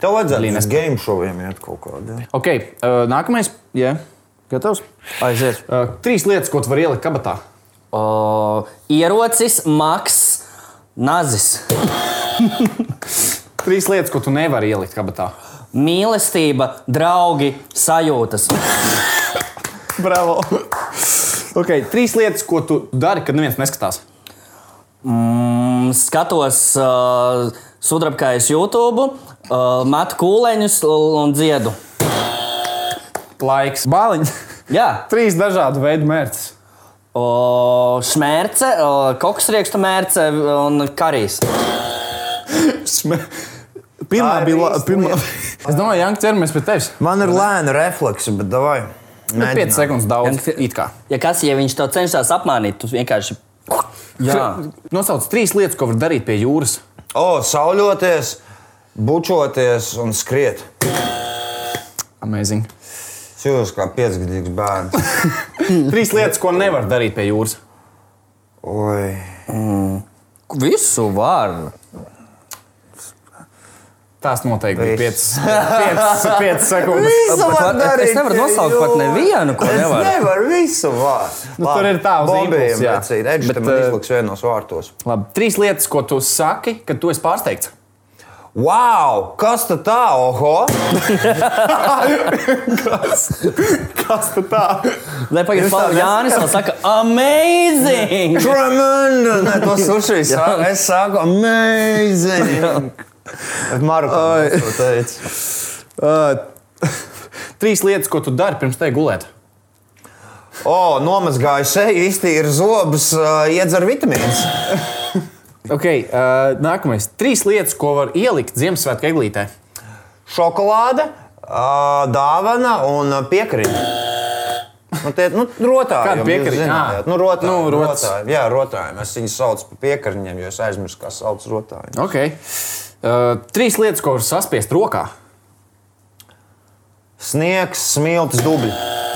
[SPEAKER 2] Tev vajadzētu uz game šoviem iet kaut kādā.
[SPEAKER 3] Ok, uh, nākamais. Jā, gatavs.
[SPEAKER 4] Aiziet.
[SPEAKER 3] Uh, trīs lietas, ko tu vari ielikt kabatā.
[SPEAKER 4] Uh, ierocis, maks, nazis.
[SPEAKER 3] Trīs lietas, ko tu nevari ielikt kabatā.
[SPEAKER 4] Mīlestība, draugi, sajūtas.
[SPEAKER 3] Bravo! ok, trīs lietas, ko tu dari, kad neviens neskatās.
[SPEAKER 4] Mm, um, skatos uh, sudrabkājas YouTube, uh, metu kūleņus un dziedu.
[SPEAKER 3] Laiks, bāliņš.
[SPEAKER 4] Jā,
[SPEAKER 3] Trīs dažādu veidu mērķis.
[SPEAKER 4] O, šmērce, o, koksriekstu mērce un karīs.
[SPEAKER 3] Pirmā
[SPEAKER 2] Tā ir
[SPEAKER 3] bija. la-
[SPEAKER 2] īsta
[SPEAKER 3] Pirmā...
[SPEAKER 2] lieta.
[SPEAKER 3] Es domāju, Jānis, ķeramies pie tevis.
[SPEAKER 2] Man ir lēna refleksa, bet davai.
[SPEAKER 3] Nu, 5 sekundes daudz.
[SPEAKER 4] Gan-
[SPEAKER 3] it kā.
[SPEAKER 4] Ja kas, ja viņš to cenšas apmānīt, tu vienkārši. Jā,
[SPEAKER 3] Nosauc trīs lietas, ko var darīt pie jūras.
[SPEAKER 2] O, sauļoties, bučoties un skriet.
[SPEAKER 3] Amazing.
[SPEAKER 2] Es jūtos kā piecgadīgs bērns.
[SPEAKER 3] Trīs lietas, ko nevar darīt pie jūras.
[SPEAKER 2] Oi.
[SPEAKER 4] visu var.
[SPEAKER 3] Tās noteikti bija
[SPEAKER 2] Viss.
[SPEAKER 3] 5 sekundes.
[SPEAKER 2] Visu
[SPEAKER 4] var darīt
[SPEAKER 2] darīt
[SPEAKER 4] es nevaru
[SPEAKER 2] pie
[SPEAKER 4] nosaukt pat
[SPEAKER 2] jūras.
[SPEAKER 4] nevienu, ko
[SPEAKER 2] Es
[SPEAKER 4] nevaru.
[SPEAKER 2] nevaru visu vārdu.
[SPEAKER 3] Nu, tur ir tā uz impulsu, jā.
[SPEAKER 2] jā. Redzi,
[SPEAKER 3] Bet,
[SPEAKER 2] tam ir
[SPEAKER 3] eh,
[SPEAKER 2] izliks vienos vārtos.
[SPEAKER 3] Labi, trīs lietas, ko tu saki, kad tu esi pārsteigts.
[SPEAKER 2] Wow! Kas tad tā? Oho!
[SPEAKER 3] Kas tu tā?
[SPEAKER 4] Lai pagaidām,
[SPEAKER 2] Jūs tā
[SPEAKER 4] kā Jānis vēl saka, amazing!
[SPEAKER 2] Tremendous! Nē, to suši es saku. Es saku, amazing! Marko, to teicu.
[SPEAKER 3] Uh, trīs lietas, ko tu dari pirms te gulēt.
[SPEAKER 2] O, nomazgāju seju, iztīru zobus, eh, iedzer vitamīnus.
[SPEAKER 3] Okay, uh, nākamais. Trīs lietas, ko var ielikt Ziemassvētku eglītē.
[SPEAKER 2] šokolāde, ā, dāvana un piekriņa. Nu, tie, nu, rotāji,
[SPEAKER 3] Kāda
[SPEAKER 2] jau, jūs
[SPEAKER 3] piekariņa?
[SPEAKER 2] zināt,
[SPEAKER 3] Ā.
[SPEAKER 2] Nu, rotāji,
[SPEAKER 3] Nu,
[SPEAKER 2] nu,
[SPEAKER 3] rots.
[SPEAKER 2] rotāji, jā, rotāji. Es viņus saucu par piekariņiem, jo es aizmirsu, kā sauc rotāju.
[SPEAKER 3] Okay. Uh, trīs lietas, ko var saspiest rokā.
[SPEAKER 2] Sniegs, smilts, dubļi.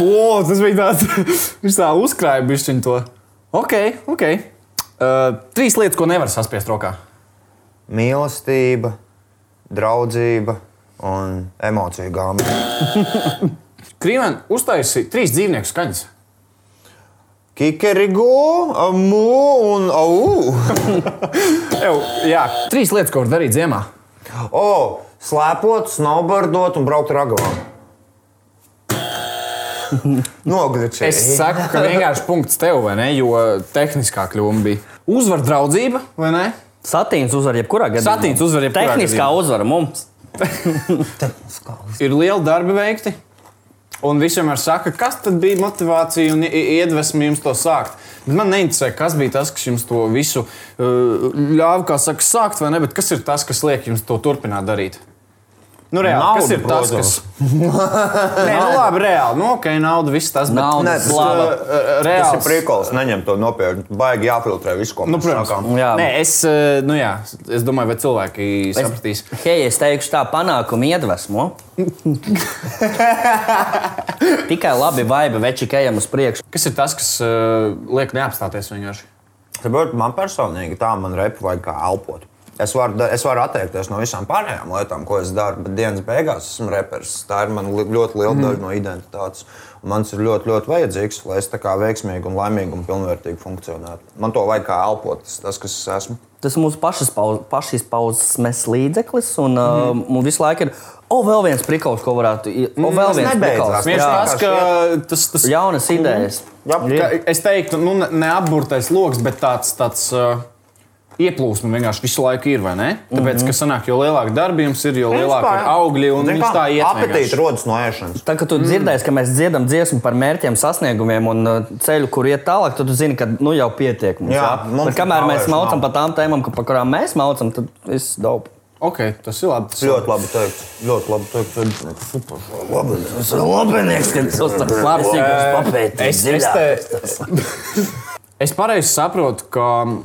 [SPEAKER 3] O, tas bija tāds, viņš tā uzkrāja bišķiņu to. Ok, ok. Uh, trīs lietas, ko nevar saspiest rokā.
[SPEAKER 2] Mīlestība, draudzība un emociju gāma.
[SPEAKER 3] Krīvēn, uztaisi trīs dzīvnieku skaņas.
[SPEAKER 2] Kikerigu, amu un au!
[SPEAKER 3] Ew, jā, trīs lietas, ko var darīt ziemā.
[SPEAKER 2] O, slēpot, snowboardot un braukt ar ragavām. Nogriezties.
[SPEAKER 3] Es saku, ka vienkārši punkts tev, vai ne? Jo tehniskā kļūme bija. Uzvar draudzība, vai ne?
[SPEAKER 4] Satīns uzvar jebkurā gadījumā.
[SPEAKER 3] Satīns uzvar jebkurā
[SPEAKER 4] Tehniskā
[SPEAKER 3] gadījumā.
[SPEAKER 4] uzvara mums.
[SPEAKER 3] Ir liela darba veikti. Un visiem ir saka, kas tad bija motivācija un i- i- iedvesma jums to sākt. Bet man neinteresē, kas bija tas, kas jums to visu uh, ļāva, kā saka, sākt, vai ne? Bet kas ir tas, kas liek jums to turpināt darīt? Nu, reāli,
[SPEAKER 2] Nauda,
[SPEAKER 3] kas ir tas,
[SPEAKER 2] protams.
[SPEAKER 3] kas. Nē, nu, labi, reāli. Nu, ok, nauda, viss tas. bet-
[SPEAKER 4] Nauda,
[SPEAKER 3] Nē, bet,
[SPEAKER 4] slava.
[SPEAKER 3] uh, uh,
[SPEAKER 2] Tas
[SPEAKER 3] Reāls.
[SPEAKER 2] ir prikals, neņem to nopietni. Baigi jāfiltrē viss, ko
[SPEAKER 3] Nu,
[SPEAKER 2] mēs
[SPEAKER 3] protams.
[SPEAKER 2] sakām.
[SPEAKER 4] Jā.
[SPEAKER 3] Nē, es, eh, nu jā, es domāju, vai cilvēki es... sapratīs.
[SPEAKER 4] Hei, es teikšu, tā panākuma iedvesmo. Tikai labi, vai beigti, ka ejam uz priekšu.
[SPEAKER 3] Kas ir tas, kas eh, liek neapstāties vienkārši?
[SPEAKER 2] Saprot, man personīgi tā, man repa vajag kā elpot. Es varu, da- es varu atteikties no visām pārējām lietām, ko es daru, bet dienas beigās esmu reperis. Tā ir man li- ļoti liela
[SPEAKER 3] Mm.
[SPEAKER 2] daļa no identitātes. Un Mans ir ļoti, ļoti vajadzīgs, lai es tā kā veiksmīgi un laimīgi un pilnvērtīgi funkcionētu. Man to vajag kā elpot, tas, tas kas es esmu.
[SPEAKER 4] Tas mūsu pašas pau- pašizpausmes līdzeklis, un mm.
[SPEAKER 2] Mhm.
[SPEAKER 4] uh, mums visu laiku ir, o, vēl viens prikals, ko varētu. i- O, vēl
[SPEAKER 2] Mm, tas
[SPEAKER 4] viens
[SPEAKER 2] nebeidzās.
[SPEAKER 4] prikals.
[SPEAKER 3] Viens
[SPEAKER 2] Jā,
[SPEAKER 3] tas,
[SPEAKER 2] vienkārši
[SPEAKER 3] ka tas, tas
[SPEAKER 4] Jaunas idejas.
[SPEAKER 2] Jā,
[SPEAKER 3] Ka, es teiktu, nu, ne- neapburtais lokus, bet tāds, tāds uh, ieplūsma vienkārši visu laiku ir. vai ne? Tāpēc,
[SPEAKER 2] Mhm.
[SPEAKER 3] mm -hmm. ka sanāk, jo lielāk darbi jums ir, jo lielāk ir augļi un
[SPEAKER 2] Zini
[SPEAKER 3] viņš
[SPEAKER 2] kā,
[SPEAKER 3] tā iet.
[SPEAKER 2] Apetīti
[SPEAKER 3] vienkārši.
[SPEAKER 2] rodas no ēšanas.
[SPEAKER 4] Tā kā tu mm. dzirdēji, ka mēs dziedam dziesmu par mērķiem, sasniegumiem un uh, ceļu, kur iet tālāk, tad tu zini, ka nu, jau pietiek. Mums,
[SPEAKER 2] Jā, mums
[SPEAKER 4] Bet kamēr mēs
[SPEAKER 2] nav vairs
[SPEAKER 4] maucam par
[SPEAKER 2] nav.
[SPEAKER 4] tām tēmām, ka- par kurām mēs maucam, tad viss daudz.
[SPEAKER 3] Ok, tas ir labi. Tas ir
[SPEAKER 2] Ļoti labi teikt. Ļoti labi teikt. Super. Labi.
[SPEAKER 4] Labinieks, ka tas ir tāds labs,
[SPEAKER 3] Ē,
[SPEAKER 4] kas papēta.
[SPEAKER 3] Es, es, te... es pareizi saprotu, ka um,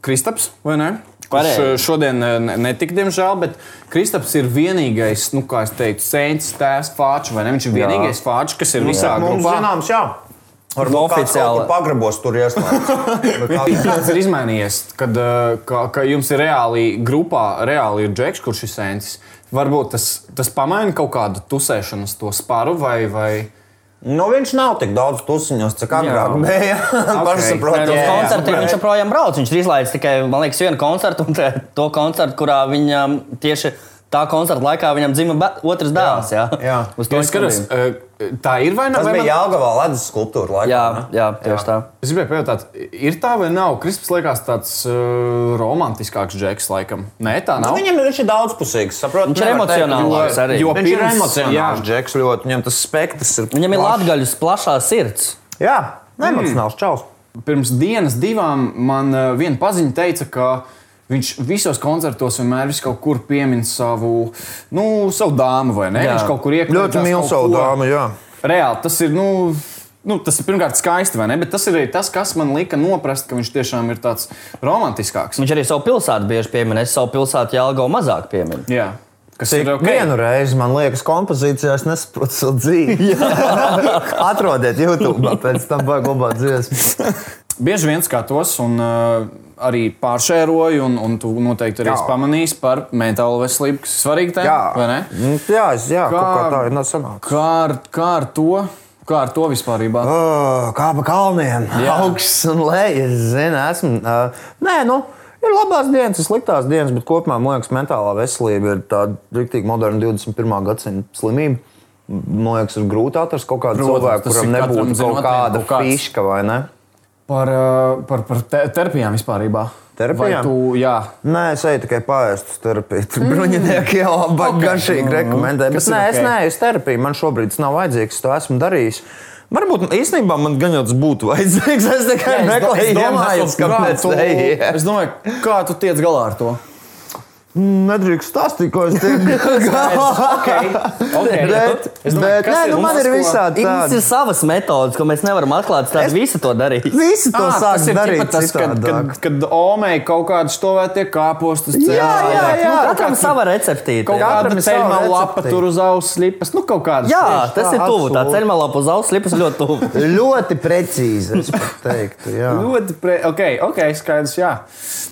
[SPEAKER 3] Kristaps vai ne?
[SPEAKER 4] Pareizi.
[SPEAKER 3] Kurš, eh, Šodien eh, ne- netika, diemžēl, bet Kristaps ir vienīgais, nu, kā es teicu, sēns, tēvs, fāčs, vai ne? Viņš ir vienīgais fāčs, kas ir visā
[SPEAKER 2] Mums
[SPEAKER 3] grupā.
[SPEAKER 2] zināms, Nu, jā.
[SPEAKER 4] Nu,
[SPEAKER 2] Varbūt
[SPEAKER 4] oficiāli.
[SPEAKER 2] oficiāli pagrabos tur Nu, ieslēgts.
[SPEAKER 3] Tas ir izmainījies, kad eh, ka, ka jums ir reāli grupā, reāli ir džeks, kurš ir sēns. Varbūt tas, tas pamaina kaut kādu tusēšanas to spāru vai. vai...
[SPEAKER 2] Nu, viņš nav tik daudz tusiņos, cik agrāk
[SPEAKER 3] Nē,
[SPEAKER 2] bija.
[SPEAKER 3] nu,
[SPEAKER 4] Uz
[SPEAKER 3] jā, jā.
[SPEAKER 4] koncertiem viņš joprojām brauc. Viņš ir izlaidis tikai, man liekas, vienu koncertu, un tā- to koncertu, kurā viņam tieši tā koncerta laikā viņam dzima bē- otrs dēls. Jā,
[SPEAKER 2] jā.
[SPEAKER 4] Uz to
[SPEAKER 3] Es skatos,
[SPEAKER 4] izskatījums.
[SPEAKER 3] eh, tā ir vai nav?
[SPEAKER 2] Tas
[SPEAKER 3] vai
[SPEAKER 2] bija
[SPEAKER 3] man-
[SPEAKER 2] Jāgavā ledus skulptūra laikā.
[SPEAKER 4] Jā,
[SPEAKER 2] ne? Nu,
[SPEAKER 4] jā, tieši tā.
[SPEAKER 3] Es gribēju pajautāt, ir tā vai nav? Kristaps liekas, tāds uh, romantiskāks džeks, laikam. Nē, tā
[SPEAKER 2] Nu,
[SPEAKER 3] nav.
[SPEAKER 2] viņam ir viņš ir daudzpusīgs. Saprot,
[SPEAKER 4] Viņš ir
[SPEAKER 2] nevar teikt,
[SPEAKER 4] emocionālāks
[SPEAKER 2] ka
[SPEAKER 4] arī.
[SPEAKER 2] Jo, viņš ir
[SPEAKER 3] pirms-
[SPEAKER 2] emocionāls.
[SPEAKER 3] jā.
[SPEAKER 2] Džeks ļoti. Viņam tas spektrs ir.
[SPEAKER 4] Viņam ir
[SPEAKER 2] plašs.
[SPEAKER 4] latgaļus plašā sirds.
[SPEAKER 2] Jā, emocionāls čels.
[SPEAKER 3] Pirms dienas, divām, man uh, viena paziņa teica, ka viņš visos koncertos vienmēr vis kaut kur piemin savu, nu, savu dāmu, vai ne?
[SPEAKER 4] Jā.
[SPEAKER 3] Jā. Viņš kaut kur iekļūst.
[SPEAKER 2] Ļoti mīl savu dāmu. Jā.
[SPEAKER 3] Reāli tas ir. Nu, Nu, tas ir pirmkārt skaisti, vai ne? Bet tas ir arī tas, kas man lika noprast, ka viņš tiešām ir tāds romantiskāks.
[SPEAKER 4] Viņš arī savu pilsētu bieži piemin. Es savu pilsētu Jālgau mazāk pieminu.
[SPEAKER 3] Jā, kas
[SPEAKER 2] Cik
[SPEAKER 3] ir
[SPEAKER 2] okay.
[SPEAKER 3] ok.
[SPEAKER 2] vienu reizi man liekas, kompozīcijā es nesaprotu savu dzīvi. Atrodiet, YouTube, pēc tam vajag glabāt dziesmu.
[SPEAKER 3] Bieži vien skatos, un uh, arī pāršēroju, un, un tu noteikti arī
[SPEAKER 2] Jā.
[SPEAKER 3] esi pamanījis par mentālo veselību, kas ir svarīga tēma.
[SPEAKER 2] Jā,
[SPEAKER 3] vai ne?
[SPEAKER 2] Nu, jā, es- jā kā...
[SPEAKER 3] Kā-
[SPEAKER 2] kaut kā tā ir nesanāca.
[SPEAKER 3] Kā ar, kā ar to? Kā ar to vispār?
[SPEAKER 2] Oh, kā pa kalniem, augsts un lejas. Zinu, esmu, uh, nē, nu, ir labās dienas, ir sliktās dienas, bet kopumā man liekas, mentālā veselība ir tāda rīktīgi moderna 21. gadsimta slimība. Man liekas, ir grūti atrast kaut kādu
[SPEAKER 3] Protams,
[SPEAKER 2] cilvēku,
[SPEAKER 3] tas ir
[SPEAKER 2] kuram
[SPEAKER 3] katram
[SPEAKER 2] nebūtu kaut
[SPEAKER 3] zinotnē
[SPEAKER 2] kāda
[SPEAKER 3] kaut kāds.
[SPEAKER 2] fiška vai ne.
[SPEAKER 3] Par, uh, par, par te, terapijām vispār.
[SPEAKER 2] Terapijām?
[SPEAKER 3] Vai tu, jā,
[SPEAKER 2] Nē, es eju tikai pāriest uz terapiju. Tur bruņinieki jau labāk okay. garšīgi rekomendē. Bet
[SPEAKER 3] Kas ir
[SPEAKER 2] Mm. nē, es
[SPEAKER 3] ok?
[SPEAKER 2] neeju uz terapiju. Man šobrīd tas nav vajadzīgs. To esmu darījis. Varbūt īstenībā man gan jau tas būtu vajadzīgs. Es tikai
[SPEAKER 3] Es do- es
[SPEAKER 2] meklēju,
[SPEAKER 3] domāju,
[SPEAKER 2] iemācījos, kāpēc
[SPEAKER 3] kā
[SPEAKER 2] tā ir.
[SPEAKER 3] tu- es domāju, kā tu tiec galā ar to?
[SPEAKER 2] Nedrīkst stāstīt, ko es teiktu.
[SPEAKER 3] Okay. Okay.
[SPEAKER 2] Bet, bet nē, nu man ir visādi
[SPEAKER 4] Mums
[SPEAKER 2] tādi.
[SPEAKER 4] ir savas metodes, ko mēs nevaram atklāt. Tad
[SPEAKER 2] Es-
[SPEAKER 4] visi to darīja.
[SPEAKER 2] Visi to
[SPEAKER 3] Ah, tas
[SPEAKER 2] sāk
[SPEAKER 3] ir
[SPEAKER 2] darīt
[SPEAKER 3] tipa tas, kad,
[SPEAKER 2] citādāk.
[SPEAKER 3] kad, kad Omeja kaut kādā stāvā tiek kāpostas.
[SPEAKER 2] Jā,
[SPEAKER 3] cēlā,
[SPEAKER 2] jā,
[SPEAKER 3] jā.
[SPEAKER 2] jā.
[SPEAKER 4] Nu, Katram sava receptīte.
[SPEAKER 3] Kaut
[SPEAKER 4] jā.
[SPEAKER 3] kāda
[SPEAKER 2] Katram ir sava
[SPEAKER 3] ceļā lapa
[SPEAKER 2] recepte.
[SPEAKER 3] tur uz auss lipas. Nu, kaut kādas.
[SPEAKER 4] Jā,
[SPEAKER 3] tieši.
[SPEAKER 4] tas ir
[SPEAKER 2] tā,
[SPEAKER 4] tuvu. Tā
[SPEAKER 2] absolūti.
[SPEAKER 4] ceļā lapa uz auss lipas ļoti tuvu.
[SPEAKER 2] Ļoti precīzi, es pat teiktu. jā.
[SPEAKER 3] Ļoti pre... okay, ok, skaidrs. Jā.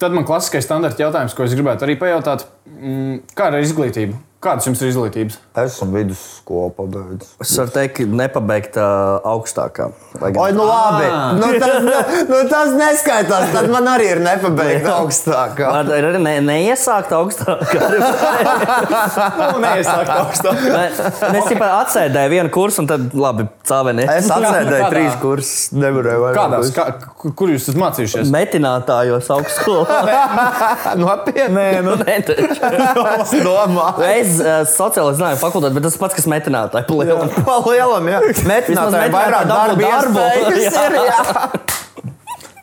[SPEAKER 3] Tad man klasiskais standarta jautājums, ko es gribētu arī pajautāt, mm, kāda ir izglītība? Kādas jums ir izglītības?
[SPEAKER 2] Esmu vidusskola pabeidzis.
[SPEAKER 4] Es varu teikt, ka nepabeigta augstākā. Lai gan-
[SPEAKER 2] Oi, nu labi. Nu, tas, ne- nu, tas neskaitās. Tad man arī ir nepabeigta augstākā.
[SPEAKER 4] Ar- Ir arī ne, neiesākt augstākā.
[SPEAKER 3] Nu, nē, es saku, augstāk.
[SPEAKER 4] Mēs tikai atsēdējām vienu kursu, un tad labi, cēlēni.
[SPEAKER 2] Es
[SPEAKER 3] kādā?
[SPEAKER 2] atsēdēju trīs kursus, nevarēju vairāk.
[SPEAKER 3] Kādās, kā, kur jūs esat mācījušies?
[SPEAKER 4] Metinātājos augstskolā.
[SPEAKER 2] Nopietni.
[SPEAKER 4] Nu, nē, taču.
[SPEAKER 2] Es domāju.
[SPEAKER 4] Es uh, sociālo zināju fakultāti, bet tas pats, kas metinātāji. palielam.
[SPEAKER 2] Pa lielam, jā. Metinātāji
[SPEAKER 4] metinātāji
[SPEAKER 2] vairāk
[SPEAKER 4] dabū
[SPEAKER 2] darba
[SPEAKER 4] darbu.
[SPEAKER 2] iespējas ir, jā.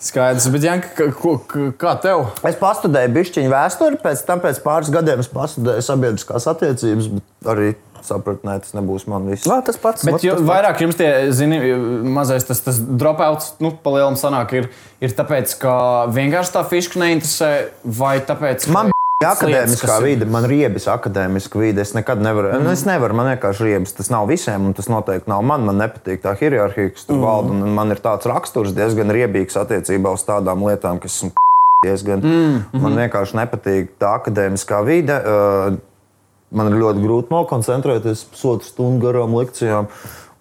[SPEAKER 3] Skaidrs, bet Janka, ka- ko- ka- kā tev?
[SPEAKER 2] Es pastudēju bišķiņu vēsturi, pēc tam pēc pāris gadiem es pastudēju sabiedriskās attiecības, bet arī sapratu, nē, tas nebūs man viss.
[SPEAKER 4] Nā, tas pats.
[SPEAKER 3] Bet
[SPEAKER 4] Vat
[SPEAKER 3] jo,
[SPEAKER 4] tas pats.
[SPEAKER 3] vairāk jums tie, zini, mazais tas, tas dropouts, nu, palielam sanāk, ir, ir tāpēc, ka vienkārši tā fiška neinteresē, vai tāpēc, ka...
[SPEAKER 2] Man bija
[SPEAKER 3] kas
[SPEAKER 2] akadēmiskā
[SPEAKER 3] ir- Mhm.
[SPEAKER 2] vide, man ir riebis akadēmiska vide. Es nekad nevaru, mm. es nevaru, man vienkārši riebis. Tas nav visiem, un tas noteikti nav man. Man nepatīk tā hierarhija, kas tur
[SPEAKER 3] Mhm.
[SPEAKER 2] mm. valda. un Man ir tāds raksturs diezgan riebīgs attiecībā uz tādām lietām, kas esmu diezgan. Mm.
[SPEAKER 3] Mhm,
[SPEAKER 2] Man vienkārši nepatīk tā akadēmiskā vide. Uh, Man ir ļoti grūti nokoncentrēties pusotru stundu garām lekcijām.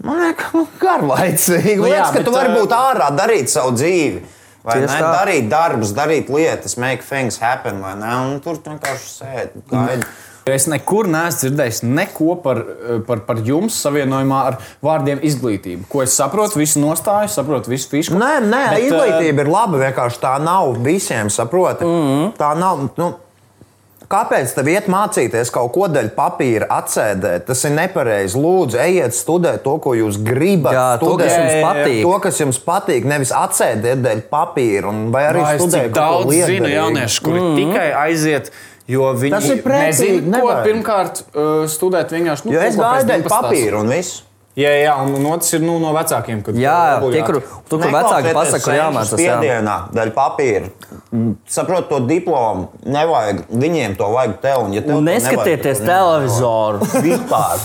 [SPEAKER 2] Man liekas, nu, garlaicīgi.
[SPEAKER 3] Nu
[SPEAKER 2] Man
[SPEAKER 3] jā,
[SPEAKER 2] liekas, ka
[SPEAKER 3] bet,
[SPEAKER 2] tu vari
[SPEAKER 3] ā,
[SPEAKER 2] būt ārā, darīt savu dzīvi. Vai ne?
[SPEAKER 4] Tieši tā.
[SPEAKER 2] Darīt darbus, darīt lietas, make things happen. vai ne? Un Tur tu vienkārši sēdi. gaidi.
[SPEAKER 3] Es nekur neesmu dzirdējis neko par, eh, par, par jums savienojumā ar vārdiem izglītība. Ko es saprotu, visu nostāju, saprotu visu fišku.
[SPEAKER 2] Nē, nē
[SPEAKER 3] Bet,
[SPEAKER 2] Bet, uh,
[SPEAKER 3] eh,
[SPEAKER 2] izglītība ir laba. Vienkārši tā nav visiem, saproti. Mm -hmm. Tā nav. Nu, Kāpēc tev iet mācīties kaut ko daļu papīra, atsēdēt? Tas ir nepareizi. Lūdzu, ejiet studēt to, ko jūs gribat.
[SPEAKER 4] Jā, to, kas
[SPEAKER 2] studēt.
[SPEAKER 4] jums Jā, jā, jā. patīk.
[SPEAKER 2] To, kas jums patīk, nevis atsēdēt daļu papīra, un, vai arī
[SPEAKER 3] Vai es
[SPEAKER 2] studēt
[SPEAKER 3] cik
[SPEAKER 2] kaut ko
[SPEAKER 3] daudz
[SPEAKER 2] liederīgu.
[SPEAKER 3] zinu jauniešu, kuri mm -hmm. tikai aiziet, jo viņi
[SPEAKER 2] Tas ir pretīgi,
[SPEAKER 3] nezina, ko
[SPEAKER 2] nevajag.
[SPEAKER 3] pirmkārt uh, studēt vienkārši. Nu,
[SPEAKER 2] Jo es
[SPEAKER 3] kaut ko pēc
[SPEAKER 2] gāju daļu
[SPEAKER 3] 12.
[SPEAKER 2] papīra un viss.
[SPEAKER 3] Jā, jā, un un otrs ir nu, no vecākiem. kad
[SPEAKER 4] Jā,
[SPEAKER 3] obligāti.
[SPEAKER 4] tie, kur, tur, kur vecāki pasaka, kur jāmācās. Jā.
[SPEAKER 2] Pēdienā daļa papīra. Saprotu, to diplomu nevajag. Viņiem to vajag tev. Un, ja tev
[SPEAKER 4] Un
[SPEAKER 2] to
[SPEAKER 4] neskatieties
[SPEAKER 2] nevajag, tad to
[SPEAKER 4] televizoru.
[SPEAKER 2] nevajag. Vispār.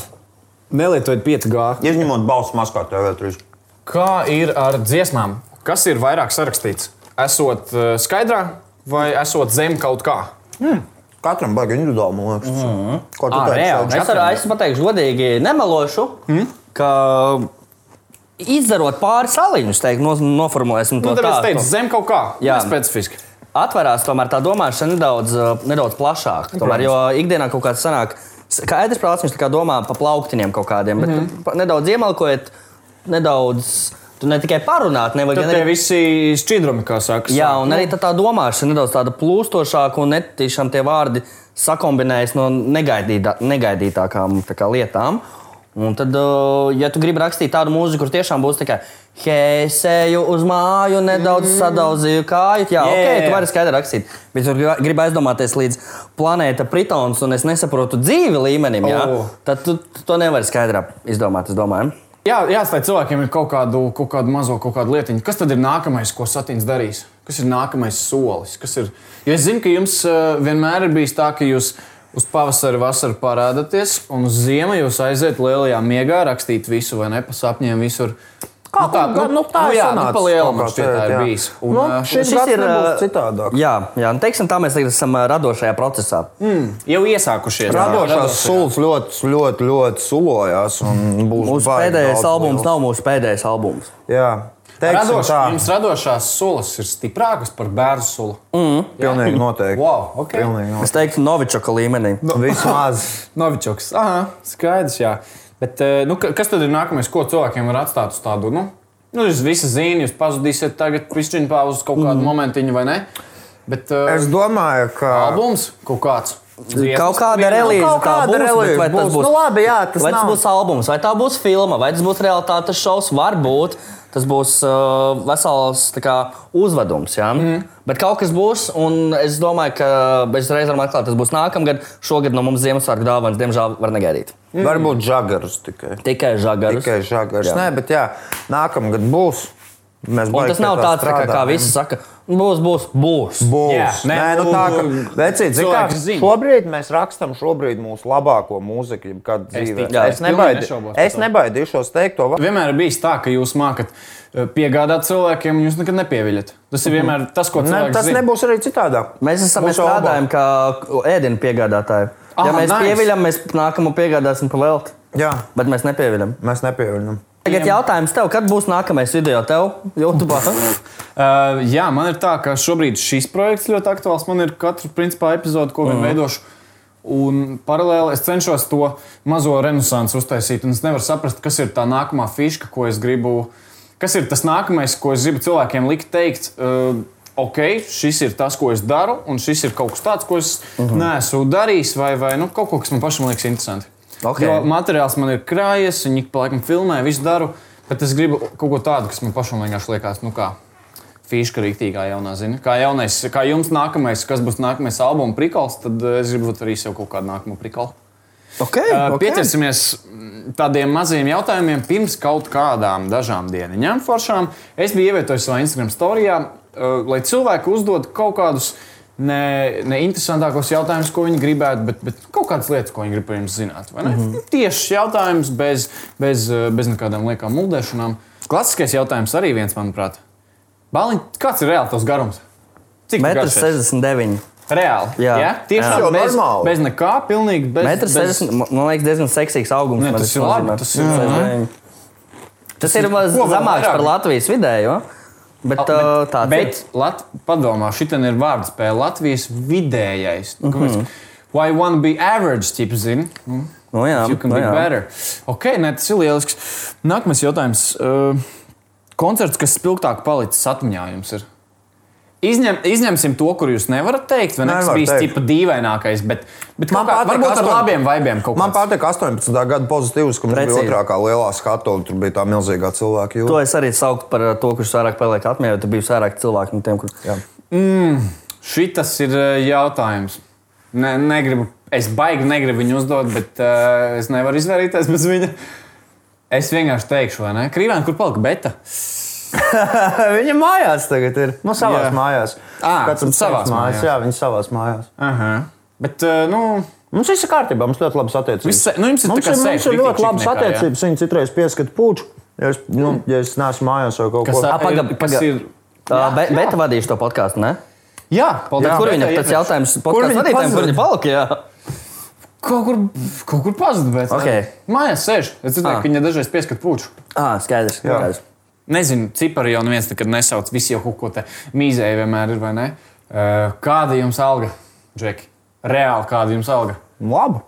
[SPEAKER 3] Nelietojiet 5G.
[SPEAKER 2] Izņemot balsu maskā, tev ir trīs.
[SPEAKER 3] Kā ir ar dziesmām? Kas ir vairāk sarakstīts? Esot uh, skaidrā vai esot zem kaut kā?
[SPEAKER 2] Katram baigi individuāli, man liekas. Mm -hmm. Ko tu
[SPEAKER 3] Mhm. Ā,
[SPEAKER 2] teici?
[SPEAKER 3] reāli,
[SPEAKER 2] Saukš?
[SPEAKER 4] Es varu es pateikšu, godīgi nemelošu,
[SPEAKER 3] Mm?
[SPEAKER 4] hmm? ka izdarot pāri saliņus, teikt, no, noformulēsim to
[SPEAKER 3] Nu,
[SPEAKER 4] tā.
[SPEAKER 3] tāpēc es teicu, zem kaut kā.
[SPEAKER 4] Jā.
[SPEAKER 3] Jā, specifiski.
[SPEAKER 4] atverās tomēr tā domāšana nedaudz, uh, nedaudz plašāk. Tomēr, jo ikdienā kaut kāds sanāk, s- kā Edis prāts, viņš tā kā domā pa plauktiņiem kaut kādiem, bet
[SPEAKER 3] Mhm.
[SPEAKER 4] mm -hmm. nedaudz iemalkojot, nedaudz. Tu ne tikai parunāt, nevajag
[SPEAKER 3] Tad
[SPEAKER 4] gan arī
[SPEAKER 3] tie visi šķidrumi, kā saka.
[SPEAKER 4] Jā, un arī tā, tā domāšana nedaudz tāda plūstošāka un netīšām tie vārdi sakombinējas no negaidītā, negaidītākām tā kā, lietām. Un tad, uh, ja tu gribi rakstīt tādu mūziku, kur tiešām būs tā, ka hēsēju uz māju, nedaudz sadauzīju kāju, jā,
[SPEAKER 3] Jā,
[SPEAKER 4] Mm. yeah.
[SPEAKER 3] jā,
[SPEAKER 4] ok,
[SPEAKER 3] jā.
[SPEAKER 4] tu vari skaidri rakstīt. Bet ja tu gribi- gribi aizdomāties līdz planēta Pritons, un es nesaprotu dzīvi līmenim, jā,
[SPEAKER 3] Oh.
[SPEAKER 4] oh. tad tu, tu to nevari skaidri izdomāt, es domāju.
[SPEAKER 3] Jā, jāstāj cilvēkiem ir kaut kādu, kaut kādu mazo kaut kādu lietiņu. Kas tad ir nākamais, ko Satīns darīs? Kas ir nākamais solis? Kas ir? Jo es zinu, ka jums eh, vienmēr ir bijis tā, ka jūs uz pavasara, vasara parādāties, un uz ziemu jūs aiziet lielajā miegā, rakstīt visu, vai ne? Pa sapņiem visur.
[SPEAKER 2] Kā gan- nu tā ir
[SPEAKER 3] jā, nu,
[SPEAKER 2] sanācis
[SPEAKER 3] pa lielam
[SPEAKER 2] kaut kā
[SPEAKER 3] man šķiet, tā
[SPEAKER 2] šeit,
[SPEAKER 3] ir
[SPEAKER 2] jā.
[SPEAKER 3] bijis. Un,
[SPEAKER 2] Nu,
[SPEAKER 3] eh,
[SPEAKER 2] šis gads nebūs citādāk.
[SPEAKER 4] Jā, jā nu, teiksim, tā mēs tagad esam ā, radošajā procesā.
[SPEAKER 3] jau iesākušies.
[SPEAKER 2] Radošās sulas ļoti, ļoti, ļoti sulojās. un būs
[SPEAKER 4] Mūsu
[SPEAKER 2] baigi
[SPEAKER 4] pēdējais
[SPEAKER 2] daudz
[SPEAKER 4] albums
[SPEAKER 2] liels.
[SPEAKER 4] nav mūsu pēdējais albums.
[SPEAKER 2] Jā, teiksim
[SPEAKER 3] Radoš,
[SPEAKER 2] tā.
[SPEAKER 3] jums radošās sulas ir stiprākas par bērnu sulu. Mm.
[SPEAKER 2] Pilnīgi noteikti.
[SPEAKER 3] Wow, okay.
[SPEAKER 2] Pilnīgi noteikti.
[SPEAKER 4] Es teiktu, Novičaka līmenī.
[SPEAKER 2] No. Vismaz.
[SPEAKER 3] Novičoks. Aha, skaidrs, jā. Bet, eh, nu, ka- kas tad ir nākamais, ko cilvēkiem var atstāt uz tādu? Nu, nu jūs visi zināt, jūs pazudīsiet tagad pišķiņu pauzes kaut kādu mm. momentiņu, vai ne? Bet eh,
[SPEAKER 2] Mhm. Es domāju, ka.
[SPEAKER 3] albums kaut kāds. dziesmas?
[SPEAKER 4] Kaut kāda relīze
[SPEAKER 2] Nu, kaut
[SPEAKER 4] tā
[SPEAKER 2] kāda
[SPEAKER 4] būs, bet
[SPEAKER 2] relīze
[SPEAKER 4] vai tas
[SPEAKER 2] būs.
[SPEAKER 4] būs?
[SPEAKER 2] Nu, labi, jā, tas
[SPEAKER 4] vai tas
[SPEAKER 2] nav.
[SPEAKER 4] būs albums, vai tā būs filma, vai tas būs realitātes šovs, varbūt tas būs uh, vesels tā kā, uzvedums. Ja?
[SPEAKER 2] Mhm.
[SPEAKER 4] Mm. Bet kaut kas būs, un es domāju, ka bez reizes varam atklāt, tas būs nākamgad. Šogad no mums Ziemassvētku dāvāns, diemžēl, var negaidīt.
[SPEAKER 2] Mm. Varbūt žagarus tikai.
[SPEAKER 4] Tikai žagarus.
[SPEAKER 2] Tikai žagarus. Nē, bet jā, nākamgad būs. Mēs
[SPEAKER 4] Un
[SPEAKER 2] baigi
[SPEAKER 4] tas
[SPEAKER 2] pie
[SPEAKER 4] nav
[SPEAKER 2] tā
[SPEAKER 4] tāds, tā kā, kā
[SPEAKER 2] strādājam.
[SPEAKER 4] visi saka, būs, būs, būs.
[SPEAKER 2] Būs.
[SPEAKER 3] Jā,
[SPEAKER 2] Jā,
[SPEAKER 3] nē,
[SPEAKER 2] nē, nē, nu tā kā
[SPEAKER 3] nu,
[SPEAKER 2] vecīt, zin,
[SPEAKER 3] cilvēki
[SPEAKER 2] kā,
[SPEAKER 3] zina.
[SPEAKER 2] šobrīd mēs rakstām šobrīd mūsu labāko mūziku, jebkad dzīvē.
[SPEAKER 3] ticu,
[SPEAKER 4] jā,
[SPEAKER 2] Es,
[SPEAKER 3] es pilnīgi
[SPEAKER 2] nebaidi,
[SPEAKER 3] nešaubos par
[SPEAKER 2] es
[SPEAKER 3] to.
[SPEAKER 2] nebaidīšos teikt to. va-
[SPEAKER 3] Vienmēr ir bijis tā, ka jūs mākat eh, piegādāt cilvēkiem, un jūs nekad nepieviļat. Tas ir vienmēr tas, ko
[SPEAKER 2] Mhm. Ne,
[SPEAKER 3] cilvēks
[SPEAKER 2] tas
[SPEAKER 3] zina.
[SPEAKER 2] nebūs arī citādāk.
[SPEAKER 4] Mēs esam mēs
[SPEAKER 2] Būs obo.
[SPEAKER 4] strādājam kā ēdienu piegādātāji.
[SPEAKER 3] Ah,
[SPEAKER 4] Ja mēs
[SPEAKER 3] nice.
[SPEAKER 4] nice. pieviļam, mēs nākamo piegādāsim pa velti.
[SPEAKER 2] Jā,
[SPEAKER 4] Bet mēs nepieviļam.
[SPEAKER 2] mēs nepieviļam.
[SPEAKER 4] Tagad jautājums tev, kad būs nākamais video tev? YouTube.
[SPEAKER 3] Uh, jā, man ir tā, ka šobrīd šis projekts ļoti aktuāls. Man ir katru principā, epizodu, ko vien veidošu. Un paralēli es cenšos to mazo renaissance uztaisīt. un Es nevaru saprast, kas ir tā nākamā fiška, ko es gribu. Kas ir tas nākamais, ko es gribu cilvēkiem likt teikt? Uh, ok, šis ir tas, ko es daru, un šis ir kaut kas tāds, ko es uh -huh. neesmu darījis, vai, vai nu, kaut kas, kas man pašam liekas interesants.
[SPEAKER 4] Ok.
[SPEAKER 3] Jo materiāls man ir krājies, viņi ik pa laikam filmē, visu daru, bet es gribu kaut ko tādu, kas man pašam vienkārši liekas, nu kā. Fīška rīktīgā jaunā zina. Kā, jaunais, kā jums nākamais, kas būs nākamais albuma prikals, tad eh, es gribu arī sev kaut kādu nākamo prikalu.
[SPEAKER 4] Okay,
[SPEAKER 3] Okay. Pieķersimies mm, tādiem maziem jautājumiem pirms kaut kādām dažām dieniņām, foršām. Es biju ievietojis savā Instagram storijā, eh, lai cilvēki uzdod kaut kādus ne, neinteresantākos jautājumus, ko viņi gribētu, bet, bet kaut kādas lietas, ko viņi grib par jums zināt. vai ne? Tiešs jautājums, bez, bez, eh, bez nekādām liekām mūldēšanām. Klasiskais jautājums arī viens, manuprāt. Baliņ, kāds ir reāls tavs garums? Cik tu
[SPEAKER 4] Metrs
[SPEAKER 3] garš esi?
[SPEAKER 4] 69.
[SPEAKER 3] Reāli. Jā,
[SPEAKER 4] Jā.
[SPEAKER 3] jā?
[SPEAKER 4] Jā.
[SPEAKER 3] tieši tā,
[SPEAKER 2] Jo
[SPEAKER 3] bez,
[SPEAKER 2] normāli.
[SPEAKER 3] bez nekā, pilnīgi bez.
[SPEAKER 4] Metrs
[SPEAKER 3] bez...
[SPEAKER 4] 60. ma- Man liekas, diezgan seksīgs augums.
[SPEAKER 3] Nē,
[SPEAKER 4] man
[SPEAKER 3] tas ir labi,
[SPEAKER 4] nozīmē.
[SPEAKER 3] tas ir-
[SPEAKER 4] 69. Tas ir maz
[SPEAKER 3] ko vēl
[SPEAKER 4] zemāks
[SPEAKER 3] vairāk? Ah,
[SPEAKER 4] par Latvijas vidējo. Bet, uh, bet, tā,
[SPEAKER 3] bet Lat... padomā, šī ir vārdspēle Latvijas vidējais.
[SPEAKER 2] Mhm.
[SPEAKER 3] Mm -hmm. Why one be average, tip, zini? Mm.
[SPEAKER 4] nu, jā,
[SPEAKER 3] You can
[SPEAKER 4] nu,
[SPEAKER 3] be
[SPEAKER 4] jā.
[SPEAKER 3] better. Ok, nē, tas ir lielisks. Nākamais jautājums. Uh, koncerts, kas spilgtāk palicis atmiņā jums ir? Izņem, izņemsim to, kur jūs nevarat teikt, vai ne? Tas
[SPEAKER 2] Nevar
[SPEAKER 3] bija
[SPEAKER 2] teikt.
[SPEAKER 3] tipa dīvainākais, bet, bet kaut
[SPEAKER 2] Man
[SPEAKER 3] kā,
[SPEAKER 2] patīk
[SPEAKER 3] varbūt ar
[SPEAKER 2] astoņ-
[SPEAKER 3] labiem vaibiem kaut
[SPEAKER 2] Man
[SPEAKER 3] kāds.
[SPEAKER 2] patīk 18. gada pozitīvs, ka mums bija
[SPEAKER 4] Precīzi.
[SPEAKER 2] otrā kā lielā skatu, un tur bija tā milzīgā cilvēka
[SPEAKER 4] To
[SPEAKER 2] jūra.
[SPEAKER 4] es arī sauktu par uh, to, kurš vairāk paliek atmiņā, jo tur bija vairāk cilvēku no tiem, kuriem
[SPEAKER 2] Jā.
[SPEAKER 3] Šitas ir eh, jautājums. Ne, negribu, es baigi negribu viņu uzdot, bet uh, es nevaru izvairīties bez viņa. Es vienkārši teikšu, vai ne? Krīvēna, kur palika beta?
[SPEAKER 2] Viņa mājās tagad ir. Nu, savās
[SPEAKER 3] Jā.
[SPEAKER 2] jā. mājās.
[SPEAKER 3] Ā,
[SPEAKER 2] Katram
[SPEAKER 3] savās
[SPEAKER 2] savās
[SPEAKER 3] mājās.
[SPEAKER 2] mājās. Jā, viņa savās mājās.
[SPEAKER 3] Aha. Bet, uh, nu,
[SPEAKER 2] Mums viss ir kārtībā, mums ļoti labas attiecības.
[SPEAKER 3] Viss se- nu, jums ir tā
[SPEAKER 2] mums
[SPEAKER 3] kā
[SPEAKER 2] ir, mums
[SPEAKER 3] safe,
[SPEAKER 2] ir
[SPEAKER 3] rītīgi
[SPEAKER 2] ļoti labas
[SPEAKER 3] čipniekā, jā.
[SPEAKER 2] attiecības. Viņa citreiz pieskata puču. Ja es, nu, ja es neesmu mājās vai kaut
[SPEAKER 3] kas,
[SPEAKER 2] ko
[SPEAKER 3] ar-
[SPEAKER 4] Ā, pagaid,
[SPEAKER 3] kas
[SPEAKER 4] pagaid.
[SPEAKER 3] ir?
[SPEAKER 4] Uh, be, beta vadīšu to podkāstu, ne?
[SPEAKER 3] Jā, paldies.
[SPEAKER 4] Bet kur
[SPEAKER 3] Beta
[SPEAKER 4] viņa tas
[SPEAKER 3] iepriekš.
[SPEAKER 4] jautājums
[SPEAKER 3] Kur
[SPEAKER 4] podkāstu
[SPEAKER 3] viņa
[SPEAKER 4] vadītājiem, kur
[SPEAKER 3] pazuda?
[SPEAKER 4] viņa palika? Jā.
[SPEAKER 3] Kaut kur, kaut kur pazuda.
[SPEAKER 4] Ok. Ah.
[SPEAKER 3] Mājās sēž. Es
[SPEAKER 4] Ā.
[SPEAKER 3] dzirdēju, ka viņa dažreiz pieskat puču.
[SPEAKER 4] Ah, skaidrs. skaidrs.
[SPEAKER 3] Nezinu, cipari jau neviens nekad nesauc. Visi jau kaut ko te mīzēja vienmēr ir, vai ne? Eh, Kāda jums alga, Džeki? Reāli kāda jums alga?
[SPEAKER 2] nu, Labi.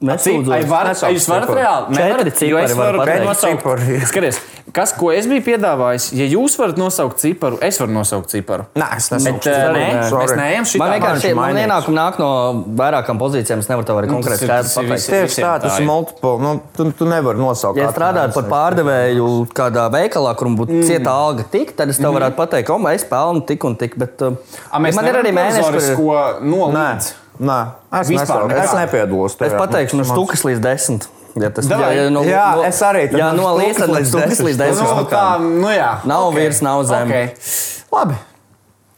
[SPEAKER 4] Mēs
[SPEAKER 3] Cik- Ai, varat, ai, jūs varat reāli?
[SPEAKER 4] Četri
[SPEAKER 3] Nevarat, jo
[SPEAKER 4] cipari
[SPEAKER 3] es
[SPEAKER 4] var
[SPEAKER 3] varu
[SPEAKER 4] pateikt.
[SPEAKER 3] nosaukt-
[SPEAKER 2] Cipari.
[SPEAKER 3] Skaties, kas, ko es biju piedāvājis, ja jūs varat nosaukt ciparu, es varu nosaukt ciparu.
[SPEAKER 2] Nē, es nesaku.
[SPEAKER 3] Bet, eh,
[SPEAKER 4] nē,
[SPEAKER 3] mēs neejam šitā.
[SPEAKER 4] Man vienkārši man
[SPEAKER 2] mainīts.
[SPEAKER 4] ienākumi nāk no vairākām pozīcijām. Es nevaru tev arī
[SPEAKER 3] Nu, tas
[SPEAKER 4] konkrēti
[SPEAKER 3] ir-
[SPEAKER 4] skaidri
[SPEAKER 3] tas ir
[SPEAKER 4] pateikt.
[SPEAKER 3] visi-
[SPEAKER 2] Tieši tā,
[SPEAKER 3] visiem
[SPEAKER 2] tas
[SPEAKER 3] tā ir.
[SPEAKER 2] ir multiple. Nu, tu, tu nevari nosaukt.
[SPEAKER 4] Ja
[SPEAKER 2] katru,
[SPEAKER 4] es strādātu par
[SPEAKER 2] nezinu.
[SPEAKER 4] pārdevēju kādā veikalā, kur man būtu mm. cieta alga, tik, tad es tev mm. varētu pateikt, ka es pelnu tik un tik. Bet, um,
[SPEAKER 3] A, mēs
[SPEAKER 4] man ir arī mēnesis, kur
[SPEAKER 3] ko
[SPEAKER 2] Nē,
[SPEAKER 3] nolēmt.
[SPEAKER 2] nē, es
[SPEAKER 3] Vispār
[SPEAKER 2] nesaku.
[SPEAKER 3] nekā.
[SPEAKER 2] Es nepiedalos.
[SPEAKER 4] es
[SPEAKER 2] tajā.
[SPEAKER 4] pateikšu, no
[SPEAKER 2] Man-
[SPEAKER 4] stūkas līdz desmit. Ja tas,
[SPEAKER 3] Davai.
[SPEAKER 4] ja, ja no,
[SPEAKER 2] Jā,
[SPEAKER 4] no,
[SPEAKER 2] es arī, tad
[SPEAKER 4] Jā,
[SPEAKER 2] no
[SPEAKER 4] no līdz
[SPEAKER 2] stūkas līdz
[SPEAKER 4] stūkas līdz
[SPEAKER 3] Nu,
[SPEAKER 4] desmit.
[SPEAKER 3] tā, nu jā.
[SPEAKER 4] Nav virs, nav zem.
[SPEAKER 3] Okay. Labi.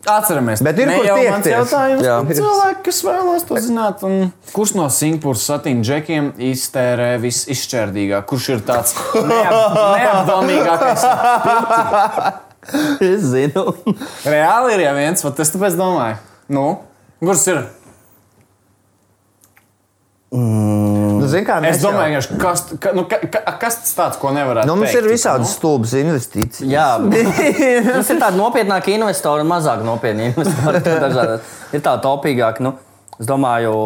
[SPEAKER 3] Atceramies.
[SPEAKER 2] Bet ir
[SPEAKER 3] Ne
[SPEAKER 2] kur
[SPEAKER 3] jau
[SPEAKER 2] tiekties.
[SPEAKER 3] mans jautājums.
[SPEAKER 4] Jā.
[SPEAKER 3] bet Cilvēki, kas vēlas to zināt, un kurš no Singapūras satīna džekiem iztērē visizšķērdīgāk? Kurš ir tāds neap, neapdomīgākais?
[SPEAKER 4] Es zinu.
[SPEAKER 3] Reāli ir jau viens, bet es tāpēc domāju. Nu, kurš ir?
[SPEAKER 2] Nu, zini kā,
[SPEAKER 3] Es
[SPEAKER 2] mēs jau-
[SPEAKER 3] domāju, ka kas, ka, nu, ka, ka, kas tas tāds, ko nevarētu.
[SPEAKER 2] Nu, mums
[SPEAKER 3] teikt,
[SPEAKER 2] ir visādi stulbas investīcijas.
[SPEAKER 4] Jā, tas ir tāds nopietnāk investori un mazāk nopietni investori. Tur dažādas- Ir tā topīgāk. Nu, es domāju,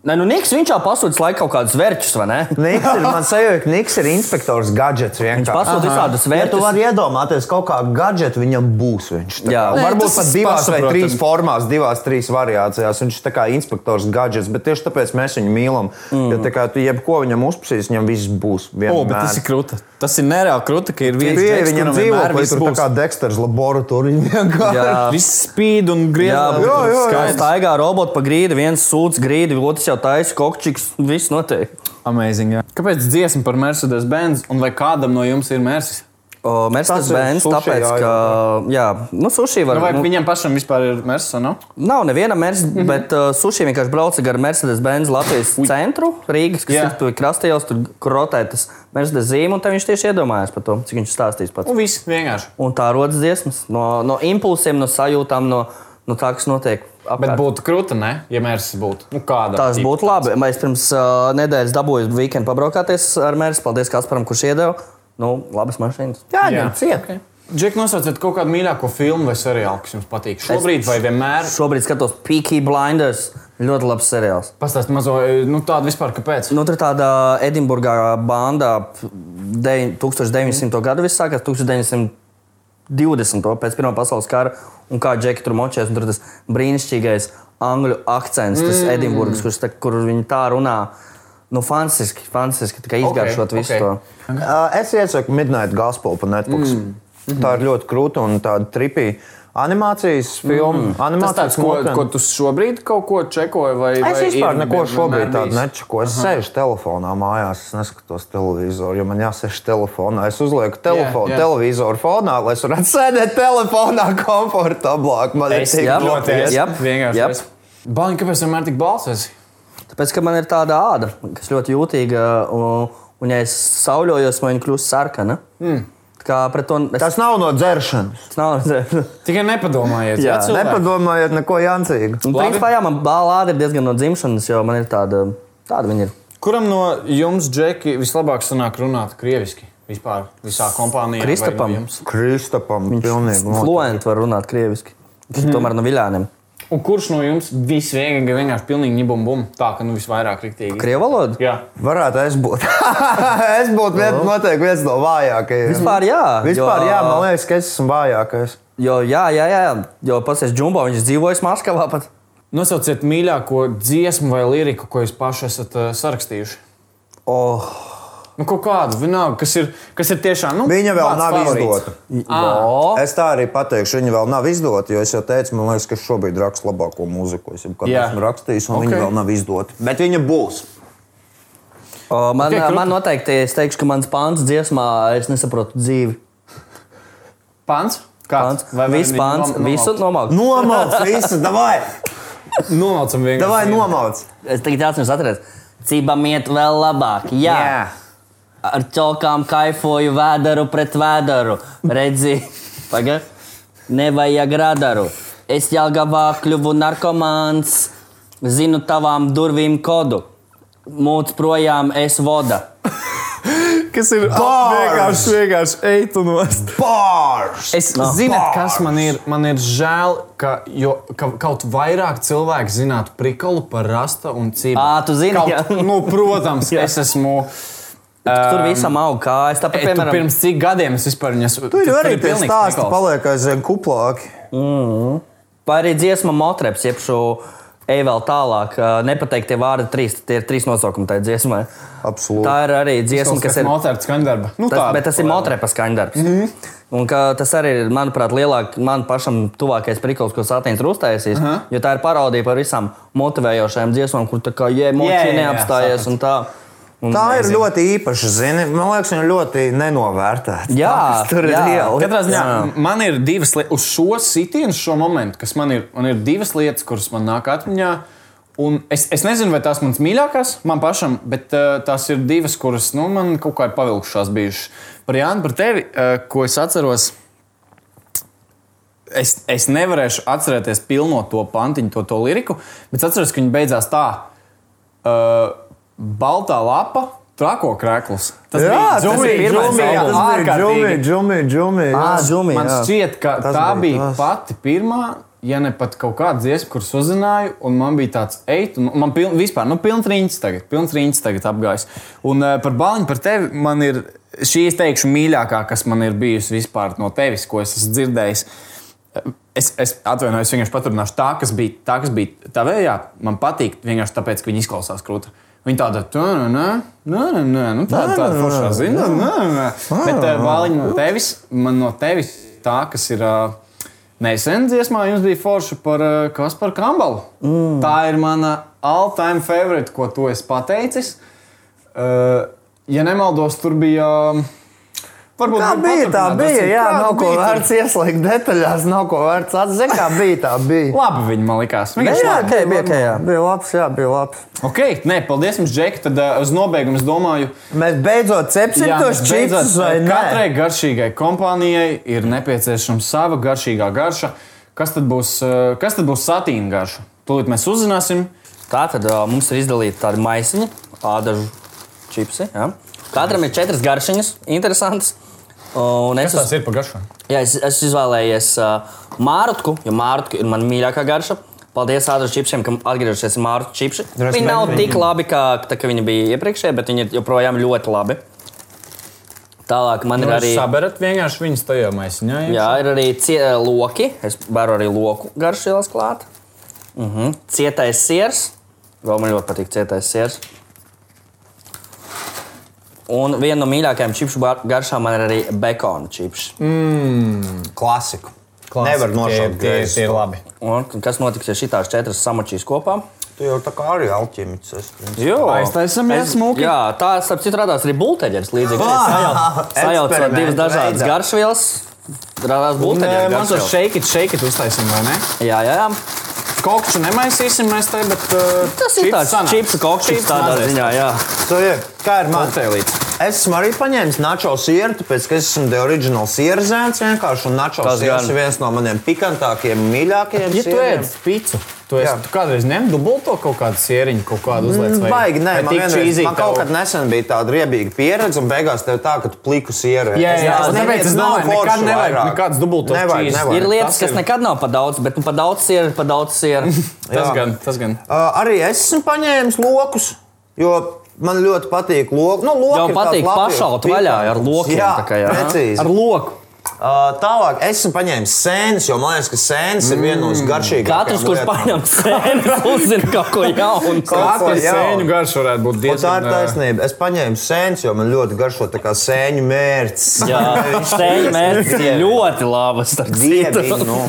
[SPEAKER 4] Nē, nu, Niks, viņš jau pasūta laikam kaut kādus vērķus, vai ne?
[SPEAKER 2] Niks ir, man sajūta, ka Niks ir inspektors gadgets.
[SPEAKER 4] Viņš
[SPEAKER 2] vienkārši.
[SPEAKER 4] pasūta visādus
[SPEAKER 2] Ja tu
[SPEAKER 4] vērķus.
[SPEAKER 2] vari iedomāties, kaut kā gadžetu viņam būs. Viņš, tā
[SPEAKER 4] Jā.
[SPEAKER 2] kā,
[SPEAKER 4] Nē,
[SPEAKER 2] varbūt
[SPEAKER 3] tas
[SPEAKER 2] pat
[SPEAKER 3] ir
[SPEAKER 2] divās vai
[SPEAKER 3] pašsaprotami.
[SPEAKER 2] trīs formās, divās, trīs variācijās. Viņš ir tā kā inspektors gadgets, bet tieši tāpēc mēs viņu mīlam. Mm. Jo tā kā tu jebko viņam uzprasīs, viņam viss būs.
[SPEAKER 5] O, bet tas ir krūti. Tas ir nereāli krūti, ka ir viens
[SPEAKER 2] Pieeja
[SPEAKER 5] džeks,
[SPEAKER 2] viņam
[SPEAKER 5] kuram
[SPEAKER 2] dzīvo,
[SPEAKER 5] vienmēr
[SPEAKER 2] vai
[SPEAKER 5] viss
[SPEAKER 2] tur tā
[SPEAKER 5] būs.
[SPEAKER 2] kā Dexters laboratorija vienkārši.
[SPEAKER 4] Jā.
[SPEAKER 5] Viss spīd un
[SPEAKER 4] Jā,
[SPEAKER 5] griežas.
[SPEAKER 2] jā, jā, jā.
[SPEAKER 4] skaidrs. Staigā robota pa grīdu, viens sūdz grīdu, otrs jau taisa kokčiks, viss notiek.
[SPEAKER 5] Amazing. Jā.
[SPEAKER 3] Kāpēc dziesma par Mercedes Benz un vai kādam no jums ir Mercedes?
[SPEAKER 4] O, Mercedes
[SPEAKER 2] Tas ir
[SPEAKER 4] Benz,
[SPEAKER 2] sushi,
[SPEAKER 4] tāpēc,
[SPEAKER 2] jā, jā,
[SPEAKER 4] ka, jā, nu, suši var,
[SPEAKER 3] Nu, vai
[SPEAKER 4] nu,
[SPEAKER 3] viņam pašam vispār ir Mercedes? vai nav?
[SPEAKER 4] Nav neviena Mercedes, mm
[SPEAKER 3] Mhm.
[SPEAKER 4] -hmm. bet uh, suši vienkārši brauca gar Mercedes-Benz Latvijas Ui. centru, Rīgas, kas
[SPEAKER 3] Jā.
[SPEAKER 4] yeah. ir krastajos, tur krotē tas Mercedes zīme, un tad viņš tieši iedomājās par to, cik viņš stāstīs pats.
[SPEAKER 3] Nu, viss vienkārši.
[SPEAKER 4] Un tā rodas dziesmas no, no impulsiem, no sajūtām, no, no tā, kas notiek.
[SPEAKER 3] Bet
[SPEAKER 4] apkārt.
[SPEAKER 3] būtu krūti, ne? Ja mērķis būtu. Nu, kāda?
[SPEAKER 4] Tas būtu labi. Mēs pirms uh, nedēļas dabūjām weekendu pabraukāties ar Mercedes. Paldies Kasparam, kurš iedeva. Nu, labas mašīnas.
[SPEAKER 3] Jā.
[SPEAKER 2] Jā, viņam ciet.
[SPEAKER 3] Džek, nosauciet kaut kādu mīļāko filmu vai seriālu, kas jums patīk. Šobrīd vai vienmēr?
[SPEAKER 4] Šobrīd skatos Peaky Blinders. Ļoti labs seriāls.
[SPEAKER 3] Pastāstiet mazo, nu tādu vispār, kāpēc.
[SPEAKER 4] Nu, tur ir tāda Edinburgā banda, ap deviņ- 1900. gadu viss sākās 1920. pēc Pirmā pasaules kara, un kā džeki tur močēs, un tur tas brīnišķīgais angļu akcents, tas mm. Edinburgas, kurš tā, kur viņi tā runā. Nu, fantastiski, fantastiski, tā kā izgaršot
[SPEAKER 3] Ok,
[SPEAKER 4] okay, visu
[SPEAKER 3] ok.
[SPEAKER 4] okay. to.
[SPEAKER 2] Uh, Es iesaku Midnight Gospel par Netflix. Mm. Tā ir ļoti krūta un tāda tripīga animācijas filma. Mm.
[SPEAKER 3] Tas tāds, ko, ko tu šobrīd kaut ko čekoji? Vai,
[SPEAKER 2] Es
[SPEAKER 3] vai
[SPEAKER 2] vispār
[SPEAKER 3] ir
[SPEAKER 2] neko
[SPEAKER 3] vienmēr
[SPEAKER 2] šobrīd tādu
[SPEAKER 3] bijis?
[SPEAKER 2] nečaku. Es sēžu telefonā mājās, es neskatos televizoru, jo man jāsēž telefonā. Es uzlieku telefonu,
[SPEAKER 3] jā.
[SPEAKER 2] yeah, yeah. televizoru fonā, lai es varētu sēdēt telefonā komfortablāk. Man ir
[SPEAKER 3] Es
[SPEAKER 2] tik
[SPEAKER 4] jā,
[SPEAKER 2] ļoti
[SPEAKER 4] jā.
[SPEAKER 2] ies-
[SPEAKER 4] Jep,
[SPEAKER 3] vienkārši.
[SPEAKER 4] jep.
[SPEAKER 3] es. Bāņi, kāpēc vienmēr tik balsies?
[SPEAKER 4] Tāpēc, ka man ir tāda āda, kas ļoti jūtīga, un, un ja es sauļojos, man viņa kļūst sarkana. Mm. Kā pret to
[SPEAKER 2] Tas nav no dzeršanas.
[SPEAKER 4] tas nav redzējis.
[SPEAKER 3] Tikai nepadomājiet.
[SPEAKER 4] Jā,
[SPEAKER 3] cilvēki.
[SPEAKER 2] Nepadomājiet, neko jāncīgu.
[SPEAKER 4] Un,
[SPEAKER 3] Labi.
[SPEAKER 4] principā, jā, man balāde ir diezgan no dzimšanas, jo man ir tāda, tāda viņa ir.
[SPEAKER 3] Kuram no jums, Džeki, vislabāk sanāk runāt krieviski? Vispār visā kompānijā. vai no
[SPEAKER 4] Kristapam.
[SPEAKER 3] jums?
[SPEAKER 2] Kristapam ir pilnīgi notiek.
[SPEAKER 4] Fluenti var runāt krieviski. Tas
[SPEAKER 3] Mhm.
[SPEAKER 4] ir tomēr no viļāniem.
[SPEAKER 3] Un kurš no jums visvieglāk, vienkārši pilnīgi ņibum-bum, tā ka nu visvairāk riktīgi?
[SPEAKER 4] Krievu valoda?
[SPEAKER 3] Jā.
[SPEAKER 2] Varētu es būt. es būtu viens, noteikti viens no vājākajiem.
[SPEAKER 4] Vispār jā.
[SPEAKER 2] Vispār,
[SPEAKER 4] jo,
[SPEAKER 2] jā, man liekas, ka es esmu vājākais.
[SPEAKER 4] Jo, jā, jā, jā, jā. jo pasies džumbo, viņš dzīvojas Maskavā pat.
[SPEAKER 3] Nosauciet mīļāko dziesmu vai liriku, ko jūs paši esat uh, sarakstījuši.
[SPEAKER 4] Oh,
[SPEAKER 3] Nu, kaut kādu, vienalga, kas ir, kas ir tiešām. Nu,
[SPEAKER 2] Viņa vēl
[SPEAKER 3] kāds
[SPEAKER 2] nav
[SPEAKER 3] favorīts?
[SPEAKER 2] izdota.
[SPEAKER 4] oh.
[SPEAKER 2] Es tā arī pateikšu, viņa vēl nav izdota, jo es jau teicu, man liekas, ka es šobrīd rakstu labāko mūziku, ko es jebkad
[SPEAKER 3] Jā.
[SPEAKER 2] esmu rakstījis, un
[SPEAKER 3] Ok.
[SPEAKER 2] okay. viņa vēl nav izdota. Bet viņa būs.
[SPEAKER 4] Oh, man,
[SPEAKER 3] Ok,
[SPEAKER 4] okay,
[SPEAKER 3] krūti.
[SPEAKER 4] man noteikti, es teikšu, ka mans pāns dziesmā, es nesaprotu dzīvi.
[SPEAKER 3] Pants.
[SPEAKER 4] Pāns, viss pāns, visu nomāk.
[SPEAKER 2] Nomauc, visu, davai,
[SPEAKER 3] Nomaucam vienkārši.
[SPEAKER 2] davai nomauc.
[SPEAKER 4] Es tagad jāatceros atrast. Cībam iet vēl labāk. Jā. jā. Ar ķelkām kaifoju vēdāru pret vēdāru. Redzi, pagaidi, nevajag radaru. Es jau gavā kļuvu narkomāns, zinu tavām durvīm kodu. Mūc projām es voda.
[SPEAKER 3] kas ir vienkārši, vienkārši eit un nost.
[SPEAKER 2] Pārs!
[SPEAKER 3] Es
[SPEAKER 4] Nav
[SPEAKER 3] zinu, kas man ir. Man ir žēl, ka, jo, ka kaut vairāk cilvēku zinātu prikolu par rasta un cīņu.
[SPEAKER 4] Ā, tu zini, jā.
[SPEAKER 3] nu, protams,
[SPEAKER 4] Jā.
[SPEAKER 3] es esmu.
[SPEAKER 4] Tur visam aug kājas. Tāpat,
[SPEAKER 3] Piemēram,
[SPEAKER 4] piemēram,
[SPEAKER 3] E, pirms cik gadiem es vispār viņas
[SPEAKER 2] Tur jau arī tie
[SPEAKER 3] pilnīgs
[SPEAKER 2] stāsti
[SPEAKER 3] prikols.
[SPEAKER 2] paliek aizvien kuplāki.
[SPEAKER 4] Vai arī dziesma Motreps, jeb šo eju vēl tālāk, ā, nepateiktie vārdi, trīs, tie ir trīs nosaukumi tajā dziesmai.
[SPEAKER 2] Absolūti.
[SPEAKER 4] Tā ir arī dziesma,
[SPEAKER 3] Tas,
[SPEAKER 4] kas ir.
[SPEAKER 3] Mozarts skandarba. Nu, Mhm.
[SPEAKER 4] Tas,
[SPEAKER 3] tāda.
[SPEAKER 4] bet tas ir Motrepa skaņdarbs. Mm -hmm. Tas arī ir, manuprāt, lielāk, man pašam tuvākais priklis, ko Sātaņš ir uztaisījis. Uh -huh. Jo tā ir parodija par visām motivējošajām dziesmām, kur tā kā
[SPEAKER 3] Jā, jā,
[SPEAKER 4] jēmoči
[SPEAKER 3] jā,
[SPEAKER 4] neapstājies un tā. Un
[SPEAKER 2] Tā ir ļoti īpaša, zini. Man liekas, viņa ļoti nenovērtēta.
[SPEAKER 4] Jā,
[SPEAKER 2] tur ir
[SPEAKER 4] jā.
[SPEAKER 2] liela.
[SPEAKER 3] Katrā ziņā
[SPEAKER 4] Jā.
[SPEAKER 3] man ir divas lietas, uz šo sitienu, šo momentu, kas man ir, man ir divas lietas, kuras man nāk atmiņā. Un es, es nezinu, vai tās ir manas mīļākās, man pašam, bet uh, tās ir divas, kuras nu, man kaut kā ir pavilkušās bijušas. Par Jānu, par tevi, uh, ko es atceros. Es, es nevarēšu atcerēties pilno to pantiņu, to, to liriku, bet es atceros, ka viņi beidzās tā. Uh, baltā lapa, trako krēkls. Tas
[SPEAKER 2] Jā,
[SPEAKER 3] bija
[SPEAKER 2] tas ir
[SPEAKER 3] džumija,
[SPEAKER 4] pirmais
[SPEAKER 3] džumija,
[SPEAKER 4] albums.
[SPEAKER 2] Tas bija
[SPEAKER 3] ārkārtīgi Ah,
[SPEAKER 2] džumija, džumija, džumija. jā.
[SPEAKER 4] Ā, džumija,
[SPEAKER 3] Man
[SPEAKER 4] jā.
[SPEAKER 3] šķiet, ka
[SPEAKER 2] Tas
[SPEAKER 3] tā
[SPEAKER 2] bija
[SPEAKER 3] bija
[SPEAKER 2] tas.
[SPEAKER 3] pati pirmā, ja ne pat kaut kāda dziesma, kuras uzzināju, un man bija tāds, ej, un man piln, vispār, nu, pilns rīņķis tagad, pilns rīņķis tagad apgājis. Un uh, par baliņu, par tevi, man ir šī, es teikšu, mīļākā, kas man ir bijusi vispār no tevis, ko es esmu dzirdējis. Es, es atvainojos, vienkārši paturināšu tā, kas bija tā, kas bija tā vējā. Man patīk, vienkārši tāpēc, ka viņi izklausās krūti. Viņa tāda, tā, nē, nē, nē, nē, nu tāda, tāda foršā zina. nē, nē, nē." Bet eh, vāliņa no tevis, man no tevis tā, kas ir. eh, Nesen dziesmā jums bija forša par eh, Kasparu Kambalu. Mm. Tā ir mana all-time favorite, ko tu esi pateicis. Eh, Ja nemaldos, tur bija. eh, Varbūt
[SPEAKER 2] Tā
[SPEAKER 3] varam
[SPEAKER 2] bija, tā
[SPEAKER 3] paturpināt,
[SPEAKER 2] bija.
[SPEAKER 3] tas ir-
[SPEAKER 2] Jā,
[SPEAKER 3] tā
[SPEAKER 2] nav ko
[SPEAKER 3] bija, tur-
[SPEAKER 2] vērts ieslēgt detaļās, nav ko vērts atzīmēt. Kā bija, tā bija.
[SPEAKER 3] Labi, viņi man likās.
[SPEAKER 2] Jā,
[SPEAKER 3] Vienkārši
[SPEAKER 2] jā,
[SPEAKER 3] labi.
[SPEAKER 2] okay, bija, okay, jā. bija labs, jā, bija labs.
[SPEAKER 3] Ok, nē, paldies jums, Džek. Tad uh, uz nobeigumu es domāju,
[SPEAKER 2] Mēs beidzot cepsim tos
[SPEAKER 3] mēs
[SPEAKER 2] čipsus vai
[SPEAKER 3] eh,
[SPEAKER 2] nē?
[SPEAKER 3] katrai garšīgai kompānijai ir nepieciešama sava garšīgā garša. Kas tad būs, eh, kas tad būs satīna garša? Tūlīt mēs uzzināsim.
[SPEAKER 4] Tā tad ā, mums ir izdalīta tāda maisiņa, ādažu čipsi. Ja? Katram ir četras garšiņas, interesantas. Un es esmu
[SPEAKER 3] ir par garšām?
[SPEAKER 4] Jā, es, es izvēlējies uh, mārciņu, jo mārciņa ir mana mīļākā garša. Paldies Ādams Čipsiem, ka atgriežamies pie mārciņu čipsiem. Viņi nav tik labi, kā, tā, kā viņi bija iepriekšējie, bet viņi ir joprojām ļoti labi. Tālāk man ir arī.
[SPEAKER 3] Saberat vienkārši viņas tajā maisiņā.
[SPEAKER 4] Jā, ir arī cie, loki. Es varu arī loku garšu ielas klāt. Uh -huh. Cietais siers. Vēl man ļoti patīk cietais siers. Un viena no mīļākajām čipsu bar- garšām man ir arī bekona čips.
[SPEAKER 2] Klasiku. Nevar nošaukt. greizi.
[SPEAKER 3] ir labi.
[SPEAKER 4] Un kas notiks, ja šīs četras samačīs kopā?
[SPEAKER 2] Tu jau tā kā arī alķimiķis. esi.
[SPEAKER 4] Jā,
[SPEAKER 3] Aiztaisamies smuki.
[SPEAKER 4] Jā, tā starp citu radās arī būteļģeris līdzīgi. Sajauc- Sajaucot
[SPEAKER 2] Eksperimenti
[SPEAKER 4] divas dažādas
[SPEAKER 2] veidā.
[SPEAKER 4] garšvielas, radās
[SPEAKER 3] Un, eh, Mums tas
[SPEAKER 4] būteļģeris.
[SPEAKER 3] šeit ir, šeit ir uztaisim, vai ne?
[SPEAKER 4] Jā, jā, jā.
[SPEAKER 3] Kokšu nemaisīsim mēs te, bet. Uh,
[SPEAKER 4] Tas ir tāds čips, kokšķis tādā ziņā, jā.
[SPEAKER 2] Tu ir- Kā ir man?
[SPEAKER 3] Kokteilīts.
[SPEAKER 2] Es esmu arī paņēmis načo sieru, tāpēc ka es esmu The Original sieru zēns. Vienkārši, un načo
[SPEAKER 4] Tas
[SPEAKER 2] sieras
[SPEAKER 4] gan.
[SPEAKER 2] ir viens no maniem pikantākajiem, mīļākajiem.
[SPEAKER 3] Ja tu
[SPEAKER 2] sieriem.
[SPEAKER 3] ēd pīci, tu, esi,
[SPEAKER 2] Jā. Mm,
[SPEAKER 3] tu kādreiz ņem dubulto kaut kādu sēriņu, kaut kādu uzliec. vai-
[SPEAKER 2] Baigi, nē,
[SPEAKER 3] vai
[SPEAKER 2] man,
[SPEAKER 3] tik
[SPEAKER 2] vienreiz,
[SPEAKER 3] cheesy
[SPEAKER 2] man
[SPEAKER 3] tev-
[SPEAKER 2] kaut kad nesen bija tāda riebīga pieredze, un beigās tev tā, ka tu pliku sieru.
[SPEAKER 3] Jā, jā,
[SPEAKER 4] es
[SPEAKER 3] tāpēc es domāju, nekad nevajag nekādas dubultos
[SPEAKER 2] Nevajag,
[SPEAKER 3] cheese.
[SPEAKER 2] nevajag.
[SPEAKER 4] Ir
[SPEAKER 3] Tas
[SPEAKER 4] lietas, kas
[SPEAKER 3] ir-
[SPEAKER 4] nekad nav par daudz, bet nu, par daudz ir, par daudz ir.
[SPEAKER 3] Tas
[SPEAKER 2] Jā.
[SPEAKER 3] gan, tas gan.
[SPEAKER 2] Uh, arī es esmu paņēmis lokus, jo man ļoti patīk loki. Nu, loki
[SPEAKER 4] Jau
[SPEAKER 2] ir
[SPEAKER 4] patīk
[SPEAKER 2] tāds lapjūts,
[SPEAKER 4] pašaut vaļā ar lokiem.
[SPEAKER 2] Jā,
[SPEAKER 4] tā kā, jā.
[SPEAKER 2] precīzi.
[SPEAKER 4] Ar loku.
[SPEAKER 2] Uh, tālāk es esmu paņēmis sēnes, jo man liekas, ka sēnes mm. ir viena no garšīgākajām.
[SPEAKER 4] Katrs, kurš
[SPEAKER 2] lietām.
[SPEAKER 4] paņem sēnes, uzzina kaut ko jaunu.
[SPEAKER 2] Kaut ko
[SPEAKER 3] Katrs
[SPEAKER 2] jaunu.
[SPEAKER 3] sēņu garš varētu būt
[SPEAKER 2] Un tā
[SPEAKER 3] diezgan.
[SPEAKER 2] ir taisnība. Es paņēmu sēnes, jo man ļoti garšo tā kā sēņu mērķis.
[SPEAKER 4] Jā, sēņu mērķis ir ļoti labas. starp citu.
[SPEAKER 2] Dievīgi, nu.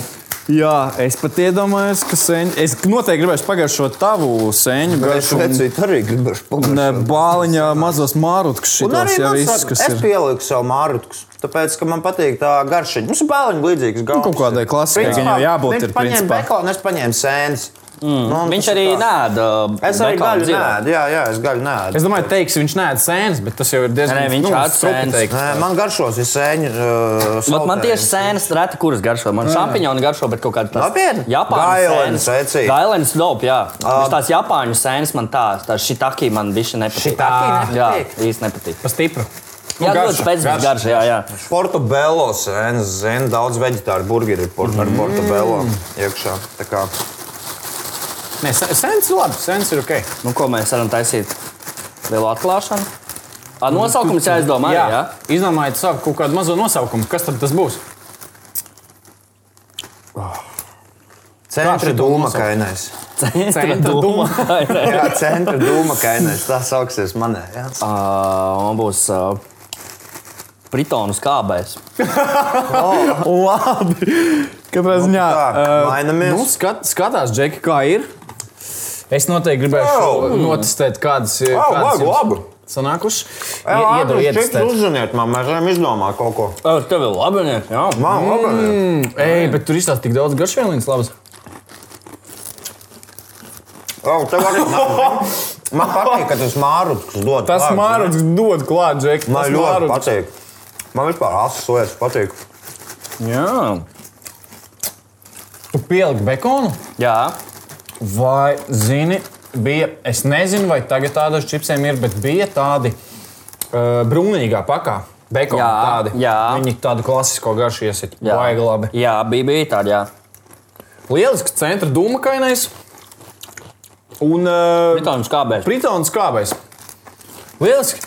[SPEAKER 3] Jā, es pat iedomājos, ka sēņu. Es noteikti gribēšu pagaršot tavu sēņu
[SPEAKER 2] Nu, Es redzēju, arī gribēju pagaršot.
[SPEAKER 3] Bāliņā mazos mārutkus
[SPEAKER 2] Un arī man saka, es pieliku sev mārciņu, tāpēc, ka man patīk tā garša. Mums ir bāliņš līdzīgs. Nu,
[SPEAKER 3] kaut kādai klasikai viņam jau jābūt, ir
[SPEAKER 2] Viņš paņēma
[SPEAKER 3] principā.
[SPEAKER 2] bekonu, es paņēmu sēnes. Mm.
[SPEAKER 4] Viņš arī nēda.
[SPEAKER 2] Es arī gaļu nēdu. Jā, jā, es gaļu nēdu.
[SPEAKER 3] Es domāju, teiks, viņš nē, sēnes, bet tas jau ir diezgan.
[SPEAKER 4] Nē, viņš
[SPEAKER 3] nu,
[SPEAKER 4] ēd
[SPEAKER 3] strupi
[SPEAKER 4] sēnes.
[SPEAKER 3] teikt.
[SPEAKER 2] Nē, man garšos ir sēņu. Uh,
[SPEAKER 4] Bet man tieši sēnes reti, kuras garšo. Man šampiņoni garšo, bet kaut kāda
[SPEAKER 2] Nopietni? Um, Gailens
[SPEAKER 4] Japāņu
[SPEAKER 2] vecīt.
[SPEAKER 4] Gailens dope, jā. Viņš tās Japāņu sēnes man tās, tā šitaki man bišķi nepatīk.
[SPEAKER 2] Šitaki
[SPEAKER 4] Jā,
[SPEAKER 2] nepatīk? Nu,
[SPEAKER 4] īsti nepatīk.
[SPEAKER 3] Pa stipru. Nu,
[SPEAKER 4] Jā,
[SPEAKER 6] garša,
[SPEAKER 4] ļoti spēcīgs
[SPEAKER 6] garša,
[SPEAKER 4] garš. Jā, jā.
[SPEAKER 2] Portugālo sēnes zina, daudz vegetāru burgeri ir port,
[SPEAKER 3] Mm.
[SPEAKER 2] ar portugālo iekšā. Tā kā
[SPEAKER 3] Nē, se- sens ir labi, sens ir ok.
[SPEAKER 4] Nu, ko mēs varam taisīt? Lielu atklāšanu.
[SPEAKER 2] Nu,
[SPEAKER 4] Ar nosaukumu jāizdomā. Jā, jā.
[SPEAKER 3] izdomājiet savu kaut kādu mazo nosaukumu. Kas tad tas būs?
[SPEAKER 2] centra
[SPEAKER 3] šo to
[SPEAKER 2] dūma
[SPEAKER 3] nosaukt?
[SPEAKER 2] kainēs.
[SPEAKER 3] Centra doma.
[SPEAKER 2] Jā, centra dūma kainēs. Tā sauksies manē. jā.
[SPEAKER 4] Uh, man būs uh, Britonu skābais.
[SPEAKER 5] Labi. Katrā ziņā.
[SPEAKER 2] Nu, Tā, mainamies.
[SPEAKER 3] Nu, skat, skatās, Džeki, kā ir. Es noteikti gribēju
[SPEAKER 2] Au!
[SPEAKER 3] oh. notestēt, kādas ir
[SPEAKER 2] Au, labi, labi.
[SPEAKER 3] sanākušas.
[SPEAKER 2] Jā,
[SPEAKER 3] Iedod
[SPEAKER 2] labi, čips
[SPEAKER 3] ietestēt.
[SPEAKER 2] uzziniet man, mēs varam izdomāt kaut ko.
[SPEAKER 4] Uh, tev ir labi, nē, jā.
[SPEAKER 3] Mm.
[SPEAKER 2] Man labi.
[SPEAKER 3] Ei, bet tur izstāsta tik daudz garšvielīnas labas.
[SPEAKER 2] Au, tev arī nav. Man patīk, ka tas mārūts dod.
[SPEAKER 5] Tas
[SPEAKER 2] klāt,
[SPEAKER 5] mārcis dod klāt, Džek.
[SPEAKER 2] Man
[SPEAKER 5] tas
[SPEAKER 2] ļoti
[SPEAKER 5] Māruts.
[SPEAKER 2] patīk. Man vispār asociēts patīk.
[SPEAKER 4] Jā,
[SPEAKER 3] Tu pieliki bekonu,
[SPEAKER 4] jā.
[SPEAKER 3] vai zini, bija, es nezinu, vai tagad tādos čipsiem ir, bet bija tādi uh, brūnīgā pakā. Bekoni
[SPEAKER 4] Jā,
[SPEAKER 3] tādi.
[SPEAKER 4] jā.
[SPEAKER 3] Viņi tādu klasisko garšu iesit.
[SPEAKER 4] jā.
[SPEAKER 3] Baigi labi.
[SPEAKER 4] Jā, bija, bija tāda, jā.
[SPEAKER 3] Lielisks centra dūmakainais. Un uh,
[SPEAKER 4] Britonu skābais.
[SPEAKER 3] Pritons kāpais. Lieliski!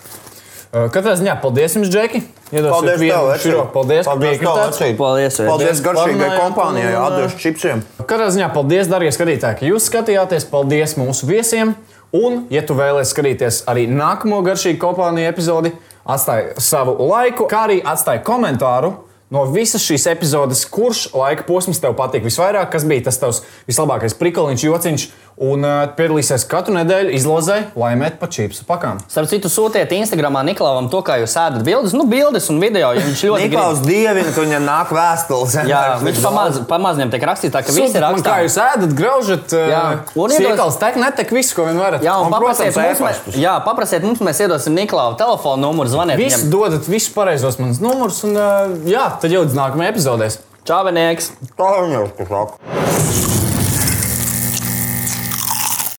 [SPEAKER 3] Uh, Katrā ziņā paldies jums, Džeki. Iedosim
[SPEAKER 2] Paldies,
[SPEAKER 3] vienu
[SPEAKER 2] tev, Eci.
[SPEAKER 3] širo. Paldies, ka
[SPEAKER 2] Paldies, tev,
[SPEAKER 3] piekritāt.
[SPEAKER 2] Eci.
[SPEAKER 4] Paldies, Eci.
[SPEAKER 2] Paldies garšīgai
[SPEAKER 3] Parunājāt,
[SPEAKER 2] kompānijai,
[SPEAKER 3] un,
[SPEAKER 2] atdevis čipsiem.
[SPEAKER 3] Nu, Katrā ziņā paldies, darbie skatītāji, ka jūs skatījāties. Paldies mūsu viesiem. Un, ja tu vēlēsies skatīties arī nākamo garšīgu kompāniju epizodi, atstāj savu laiku, kā arī atstāj komentāru. No visas šīs epizodes, kurš laika posms tev patīk visvairāk, kas bija tas tavs vislabākais prikoliņš, jociņš, un uh, piedalīsies katru nedēļu izlozē, laimēt pa čipsu pakām.
[SPEAKER 4] Starp citu, sūtiet Instagramā Niklauvam to, kā jūs ēdat bildes, nu, bildes un video. ja Viņš ļoti grib.
[SPEAKER 2] Niklaus Dievina, ka viņam nāk vēstules.
[SPEAKER 4] Jā, viņš pamaz, pamaz viņam tiek rakstīts, tā, ka viss
[SPEAKER 3] Sūtiet
[SPEAKER 4] ir
[SPEAKER 3] man, Kā
[SPEAKER 4] rakstīts.
[SPEAKER 3] jūs ēdat, graužat,
[SPEAKER 4] Jā. Un
[SPEAKER 3] un
[SPEAKER 4] iedos-
[SPEAKER 3] iekāpst tek, netek visu, ko vien varat.
[SPEAKER 4] Jā, un, un paprasiet,
[SPEAKER 2] protams,
[SPEAKER 4] mums, mēs,
[SPEAKER 2] ēpastus.
[SPEAKER 4] jā, paprasiet mums, mēs iedosim Niklauvu telefonu numuru, zvaniet
[SPEAKER 3] Visi
[SPEAKER 4] viņam.
[SPEAKER 3] dodat visus pareizos manus numurus, un uh, jā, tad jau līdz nākamajai epizodei.
[SPEAKER 4] Čāvenieks!
[SPEAKER 2] Tā jau ir.